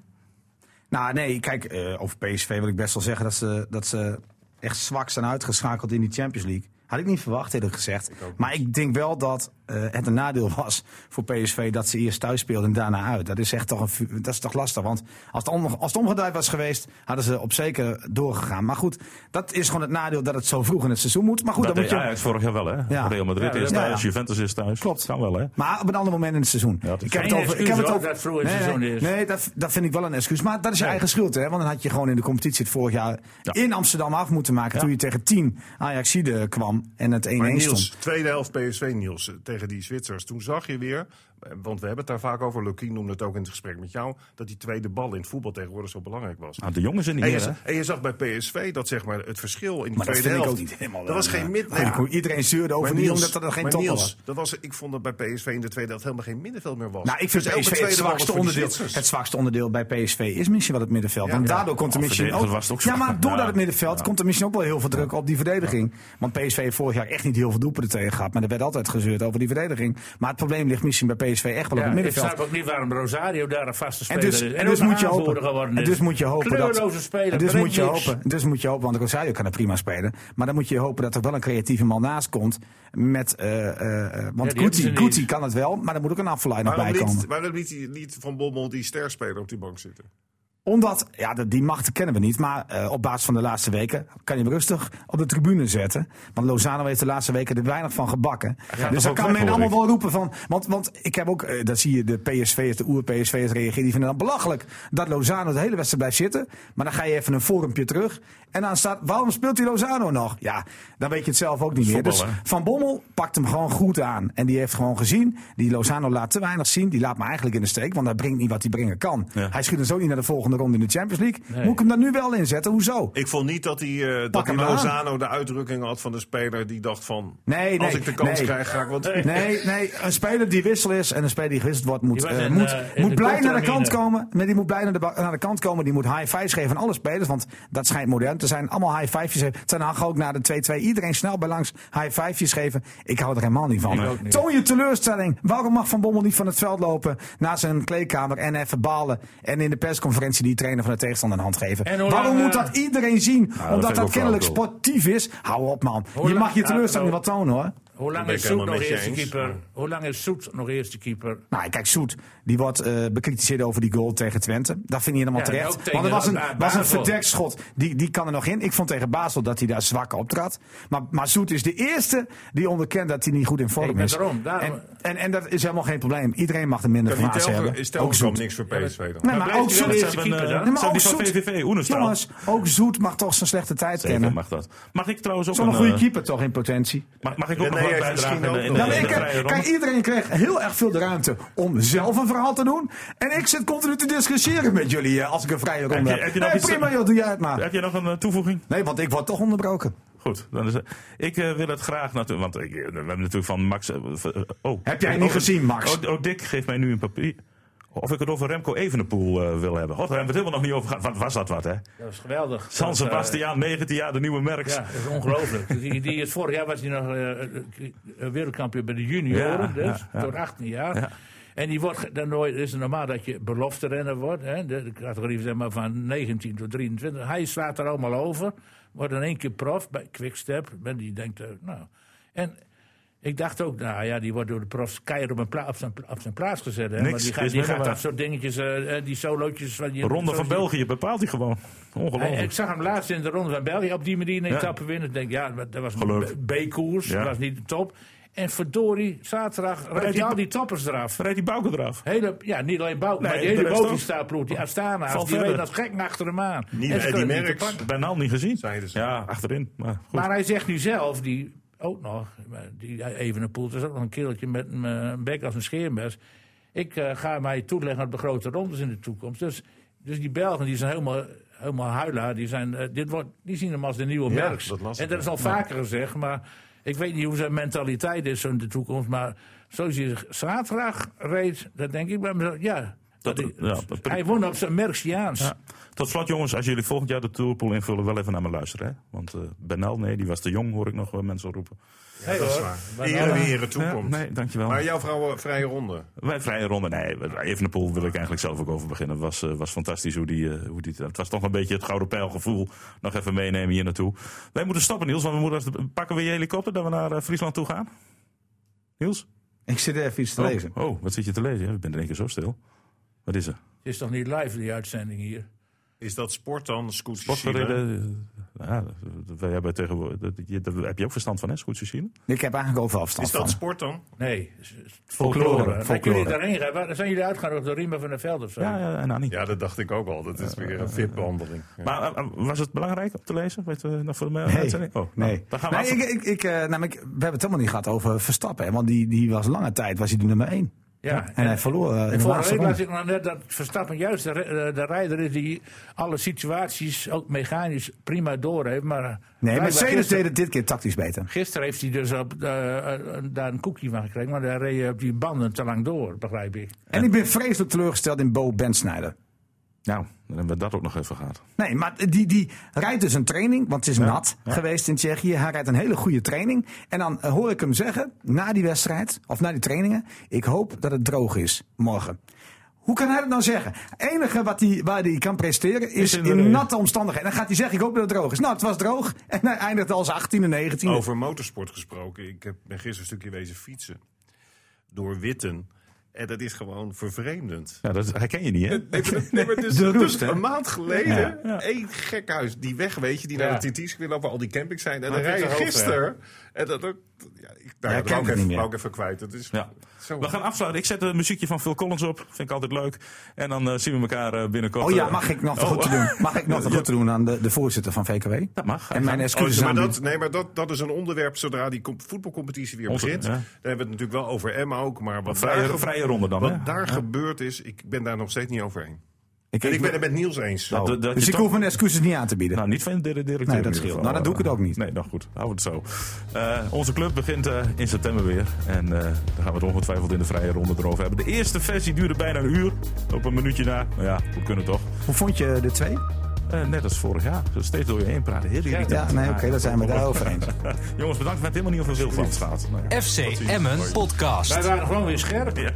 C: Nou, nee, kijk, eh over PSV wil ik best wel zeggen dat ze, dat ze echt zwak zijn uitgeschakeld in die Champions League. Had ik niet verwacht, eerlijk gezegd. maar ik denk wel dat eh, het een nadeel was voor PSV dat ze eerst thuis speelden en daarna uit. Dat is echt toch, een, vu- dat is toch lastig. Want als het, om- als het omgedraaid was geweest, hadden ze op zeker doorgegaan. Maar goed, dat is gewoon het nadeel dat het zo vroeg in het seizoen moet. Maar goed,
B: Dat
C: dan
B: deed
C: moet je.
B: Ajax vorig jaar wel, hè?
C: Ja.
B: Real Madrid
D: Ja,
B: is
D: ja.
B: thuis,
C: Ja.
B: Juventus is thuis.
C: Klopt.
B: Kan wel, hè?
C: Maar op een ander moment in het seizoen.
B: dat is
C: ik heb
D: geen
C: het over. ik heb
D: excuus,
C: het
D: hoor,
C: over
D: dat het vroeg in het
C: nee,
D: seizoen
C: nee,
D: is.
C: Nee, dat, dat vind ik wel een excuus. Maar dat is je eigen schuld, hè? Want dan had je gewoon in de competitie het vorig jaar in Amsterdam af moeten maken. Toen je tegen 10 Ajaxide kwam en het 1-1
E: Maar
C: stond.
E: Niels, tweede helft PSV Niels eh, tegen die Zwitsers. Toen zag je weer, eh, want we hebben het daar vaak over, Lucky noemde het ook in het gesprek met jou, dat die tweede bal in het voetbal tegenwoordig zo belangrijk was.
B: Nou, de jongens in die
E: En
B: meer,
E: je,
B: hè?
E: zag- en je zag bij PSV dat zeg maar, het verschil in die
C: Maar dat
E: tweede
C: vind ik
E: helft.
C: ook niet helemaal,
E: Er was
C: eh,
E: geen mid.
C: Maar goed, Iedereen zeurde over
E: Maar
C: die
E: Niels,
C: omdat er geen
E: maar
C: top
E: Niels,
C: was.
E: dat was. Ik vond dat bij PSV in de tweede helft helemaal geen middenveld meer was.
C: Nou, ik vind
E: Dus elke
C: PSV het
E: tweede bal was
C: zwakste
E: voor die
C: onderdeel.
E: Zwitsers.
C: Het zwakste onderdeel bij PSV is misschien wel het middenveld. want
E: ja.
C: daardoor komt er
B: Maar
C: misschien ook.
B: verdedigend was het ook
C: ja,
B: zwak.
C: maar doordat
B: Ja.
C: het middenveld komt er misschien ook wel heel veel druk op die verdediging. Want PSV heeft vorig jaar echt niet heel veel doelpunten tegen gehad. Maar er werd altijd gezeurd over die verdediging. Maar het probleem ligt misschien bij PSV echt wel op
D: Ja,
C: het
D: ik
C: middenveld.
D: snap ook niet waarom Rosario daar een vaste
C: En
D: speler
C: dus,
D: is.
C: en dus
D: ook een
C: moet je
D: aanvoerder
C: hopen.
D: geworden
C: En
D: is.
C: dus moet je hopen dat.
D: Kleurloze speler,
C: en dus
D: brengt
C: moet je
D: niks.
C: hopen. Dus moet je hopen, want Rosario kan er prima spelen. Maar dan moet je hopen dat er wel een creatieve man naast komt. Met, eh, eh, eh, want
D: hebben ze
C: Guti,
D: niet.
C: Guti kan het wel, maar er moet ook een afleider bij
E: Waarom
C: komen.
E: liet, waarom liet, die- liet Van Bommel die sterspeler op die bank zitten?
C: Omdat, ja, de- die machten kennen we niet. Maar eh, op basis van de laatste weken kan je hem rustig op de tribune zetten. Want Lozano heeft de laatste weken er weinig van gebakken.
B: gaat
C: Dus
B: toch
C: dan
B: ook
C: kan
B: weg,
C: men
B: hoor
C: allemaal
B: ik.
C: wel roepen van. Want, want ik heb ook, eh, dat zie je de PSV'ers, de oer-PSV'ers reageren. Die vinden dan belachelijk dat Lozano de hele wedstrijd blijft zitten. Maar dan ga je even een forumpje terug. En dan staat, waarom speelt hij Lozano nog? Ja, dan weet je het zelf ook niet meer. Dus
B: Voetbal, hè?
C: Van Bommel pakt hem gewoon goed aan. En die heeft gewoon gezien, die Lozano laat te weinig zien. Die laat me eigenlijk in de steek, want hij brengt niet wat hij brengen kan.
B: Ja.
C: Hij schiet dus ook niet naar de volgende ronde in de Champions League. Moet ik hem daar nu wel inzetten? Hoezo?
E: Ik vond niet dat hij, eh dat hij
C: hem maar aan.
E: Lozano de uitdrukking had van de speler die dacht van...
C: Nee,
E: als
C: nee,
E: ik de kans
C: nee.
E: krijg, ga ik wat doen.
C: Nee, nee, een speler die wissel is en een speler die gewisseld wordt, moet,
D: Die was
C: eh,
D: in,
C: moet,
D: eh, in
C: moet
D: de
C: blij naar de
D: contramine.
C: kant komen. Nee, die moet blij naar de, ba- naar de kant komen. Die moet high fives geven aan alle spelers, want dat schijnt modern te zijn. Allemaal high fivejes geven. Ten Hag ook naar de 2-2. Iedereen snel bij langs high fivejes geven. Ik hou er helemaal niet van.
B: Ik ook niet.
C: Toon je teleurstelling. Waarom mag Van Bommel niet van het veld lopen naar zijn kleedkamer en even balen en in de persconferentie die trainer van de tegenstander een hand geven?
D: En hoe
C: Waarom
D: lang,
C: moet
D: eh,
C: dat iedereen zien?
B: Nou, vind
C: Omdat
B: ik
C: dat
B: ook
C: kennelijk
B: flauwekul.
C: sportief is. Hou op man.
D: Hoe
C: je
D: lang-
C: mag je
D: ja,
C: teleurstelling
D: nou-
C: wat tonen hoor.
D: Hoe lang
E: ben
D: is
E: ik
D: Soet
E: helemaal
D: nog
E: met je
D: eerste
E: eens,
D: keeper?
E: maar-
D: Hoe lang is Soet nog eerste keeper?
C: Nou, kijk, Soet, die wordt eh, bekritiseerd over die goal tegen Twente. Dat vind je helemaal
D: Ja, en ook
C: terecht.
D: tegen
C: Want het was een,
D: Ba-
C: was een
D: Basel.
C: verdekt schot. Die, die kan er nog in. Ik vond tegen Basel dat hij daar zwak optrad. Maar, maar Soet is de eerste die onderkent dat hij niet goed in vorm
D: ben
C: is.
D: daarom, daarom.
C: En, en, en dat is helemaal geen probleem. Iedereen mag er minder van
E: Kan die
C: aan hebben.
E: telgen, is telgen
C: Zoet.
E: ook niks voor PSV dan?
C: Nee, maar ook
B: Blijft hij wel
C: Zoet.
B: eerste
D: eerste
B: keeper
D: keeper,
B: dan?
D: hè?
C: Nee, maar
B: Zijn
C: ook
B: die van
C: Zoet-
B: VVV, Oenestra.
C: Jongens, ook Zoet mag toch zijn slechte tijd
B: Zeker
C: kennen.
B: mag dat. Mag ik trouwens ook
C: Zo'n
B: een,
C: goede
B: eh,
C: keeper toch in potentie.
B: Mag, mag ik ook
E: René
B: nog wat
E: heeft
B: bijdragen?
E: misschien
B: in de-
E: ook
B: in de-
E: nog-
C: Nou,
B: in de
C: ik
B: vrije
C: heb,
B: ronde?
C: kijk, iedereen kreeg heel erg veel de ruimte om zelf een verhaal te doen. En ik zit continu te discussiëren met jullie eh, als ik een vrije
B: je-
C: ronde heb.
B: heb je nog
C: Nee,
B: iets-
C: prima joh, doe jij het maar.
B: Heb jij nog een eh, toevoeging?
C: Nee, want ik word toch onderbroken.
B: Goed, dan is, ik eh, wil het graag natuurlijk. Want ik, eh, we hebben natuurlijk van Max. eh, v- eh, oh,
C: Heb jij niet
B: oh,
C: gezien, Max?
B: Oh, oh, Dick, geef mij nu een papier. Of ik het over Remco Evenepoel eh, wil hebben. God, daar hebben we het helemaal nog niet over gehad. Wat was dat wat, hè?
D: Dat is geweldig.
B: San
D: Dat, eh,
B: Sebastiaan, 19 jaar, de nieuwe merks.
D: Ja, dat is ongelooflijk. die, die is, vorig jaar was hij nog eh, eh, eh, wereldkampioen bij de junioren,
B: Ja,
D: dus,
B: ja, ja.
D: tot 18 jaar.
B: Ja.
D: En die wordt, ge- dan nooit- is het normaal dat je belofte renner wordt. Hè? De, de categorie zeg maar, van 19 tot 23. Hij slaat er allemaal over. Wordt in één keer prof bij Quickstep. En die denkt, eh, nou... En ik dacht ook, nou ja, die wordt door de profs keihard op, een pla- op, zijn, pla- op zijn plaats gezet. Hè?
B: Niks
D: maar die
B: is
D: gaat, die
B: minder
D: gaat
B: waar.
D: dat soort dingetjes, eh, eh, die solootjes... Van je,
B: Ronde van
D: zoals je-
B: België bepaalt hij gewoon. Ongelooflijk.
D: hij- ik zag hem laatst in de Ronde van België op die manier een
B: Ja.
D: etappe winnen. Ik denk, ja, maar dat was
B: Geluk.
D: een B- B-koers,
B: Ja.
D: dat was niet de top. En verdorie, zaterdag rijdt
B: die-
D: hij al die toppers eraf.
B: Rijdt die Bouke eraf?
D: Hele, ja, niet alleen Bouw,
B: Nee,
D: maar die
B: de
D: hele
B: rest
D: bovenstaanploeg, die Astana's, die
B: Valverde.
D: reden als gek achter hem aan.
E: Niet
D: En ze
E: Eddy
D: kunnen het
E: Merckx.
D: te pakken.
B: Bijna niet gezien.
E: Zeiden ze.
B: Ja, achterin. Maar goed.
D: Maar hij zegt nu zelf, die ook nog, maar die Evenepoel, dat is ook nog een kereltje met een, eh, een bek als een scheermes. Ik eh, ga mij toeleggen op de grote rondes in de toekomst. Dus, dus die Belgen die zijn helemaal, helemaal huilaar. Die, zijn, eh, dit wordt, die zien hem als de nieuwe
E: Ja,
D: Merckx.
E: dat las ik,
D: en dat is al vaker gezegd, maar ik weet niet hoe zijn mentaliteit is in de toekomst. Maar zoals hij zaterdag reed, dat denk ik bij mezelf, ja.
B: Dat-
D: dat-
B: ja, dat-
D: hij won op zijn Merxiaans.
B: Ja. Tot slot, jongens, als jullie volgend jaar de tourpool invullen, wel even naar me luisteren. Hè? Want eh Benal, nee, die was te jong, hoor ik nog wel mensen roepen.
D: Hey,
E: Dat is
D: hoor.
E: waar.
D: Maar
E: Ere
D: dan-
E: wie ere toekomt.
B: Ja, nee, dankjewel.
E: Maar jouw vrouwen vrije ronde.
B: Wij vrije ronde, nee, Evenepoel wil ik eigenlijk zelf ook over beginnen. Het was, eh, was fantastisch hoe die, eh, hoe die... Het was toch een beetje het gouden pijlgevoel nog even meenemen hier naartoe. Wij moeten stoppen, Niels, want we moeten... even- Pakken we je helikopter dat we naar eh, Friesland toe gaan? Niels?
C: Ik zit even iets te
B: Oh,
C: lezen.
B: Oh, wat zit je te lezen? Ja, Ik ben in één keer zo stil. Wat is er?
D: Het is toch niet live, die uitzending hier?
E: Is dat sport dan, Scootsie China?
B: Sportgereden... eh, Ja, wij hebben tegenwoordig... dat- je- Daar heb je ook verstand van, hè, Scootsie China?
C: Ik heb eigenlijk overal afstand
E: Is dat
C: van.
E: sport dan?
D: Nee,
C: Folklore,
D: Als
C: folklore.
D: jullie daarheen gaan, waar- zijn jullie uitgegaan door Riemen van der Veld of zo?
B: Ja, ja, en Annie.
E: Ja, dat dacht ik ook al. Dat is weer een VIP-behandeling.
B: Maar eh, eh, was het belangrijk om te lezen? Weet, eh, nog voor de
C: Nee,
B: uitzending? Oh, nou,
C: nee.
B: Dan gaan we
C: nee
B: af-
C: ik, ik, ik, eh, namelijk, we hebben het helemaal niet gehad over Verstappen. hè, Want die, die was lange tijd was hij de nummer 1.
D: Ja,
C: En hij verloor eh, in de
D: Vorige
C: laatste
D: week las
C: ronde.
D: ik nog net dat Verstappen juist de, re- eh, de rijder is die alle situaties, ook mechanisch, prima door heeft. Maar eh,
C: Nee,
D: blijkbaar
C: Mercedes
D: gisteren-
C: deed het dit keer tactisch beter.
D: Gisteren heeft hij dus op, eh, eh, daar een koekje van gekregen, maar daar reed je op die banden te lang door, begrijp ik.
C: En ik ben vreselijk teleurgesteld in Bo Bensnijder.
B: Nou, dan hebben we dat ook nog even gehad.
C: Nee, maar die, die rijdt dus een training, want het is nat geweest in Tsjechië. Hij rijdt een hele goede training. En dan eh, hoor ik hem zeggen, na die wedstrijd, of na die trainingen... ik hoop dat het droog is morgen. Hoe kan hij dat nou zeggen? Het enige wat hij, waar hij kan presteren is
B: in de
C: in
B: regen.
C: natte omstandigheden. Dan gaat hij zeggen, ik hoop dat het droog is. Nou, het was droog en hij eindigde als 18e, 19e.
E: Over motorsport gesproken. Ik heb, ben gisteren een stukje wezen fietsen. Door Witten. En dat is gewoon vervreemdend.
B: Ja, dat herken je niet, hè?
E: Nee, maar- nee, maar dus,
C: De
E: dus
C: roest, hè?
E: een maand geleden, één gekhuis, die weg, weet je, die naar
D: Ja.
E: de TT's weer lopen, al die campings zijn.
D: Maar
E: En dan rij je
D: Victor Hoofd,
E: gisteren. En dat ook, ja, ik, nou,
C: Ja,
E: dat wou
C: kent
E: ik
C: het
E: even,
C: niet
E: wou ik even kwijt. Dat is
B: Ja.
E: zo.
B: We gaan afsluiten. Ik zet een muziekje van Phil Collins op. Vind ik altijd leuk. En dan eh, zien we elkaar eh, binnenkort.
C: Oh ja,
B: eh,
C: mag ik nog te
B: oh,
C: goed te doen? Mag ik nog te
B: Ja.
C: goed te doen aan de, de voorzitter van VKW?
B: Dat mag.
C: En mijn
E: Oh,
C: excuses
E: maar
C: aan
E: dat, nee, maar dat, dat is een onderwerp zodra die com- voetbalcompetitie weer
B: Onze-
E: begint.
B: ja.
E: Daar hebben we het natuurlijk wel over Emma ook. Maar wat daar,
B: vrije,
E: ge-
B: vrije ronde dan, hè?
E: wat daar gebeurd is, ik ben daar nog steeds niet over heen.
C: Ik,
E: En ik ben
C: oh.
E: het met Niels eens.
B: Dat- dat- dat
C: dus
B: je
C: ik
B: toch-
C: hoef mijn excuses niet aan te bieden.
B: Nou, niet van de directeur. in ieder
C: scheelt.
B: geval.
C: Nou, dan doe ik het ook niet.
B: Nee, nou goed. Hou het zo. Eh, onze club begint eh, in september weer. En eh, daar gaan we het ongetwijfeld in de vrije ronde erover hebben. De eerste versie duurde bijna een uur. Op een minuutje na. Nou ja, we kunnen toch.
C: Hoe vond je de twee?
B: Eh, net als vorig jaar. Dus steeds door je heen praten. Heel irritant.
C: Ja, nee, oké, daar zijn we daar over eens.
B: Jongens, bedankt. We hebben helemaal niet hoeveel veel van het gaat. Nou ja.
A: FC Emmen Podcast.
D: Wij waren gewoon weer scherp.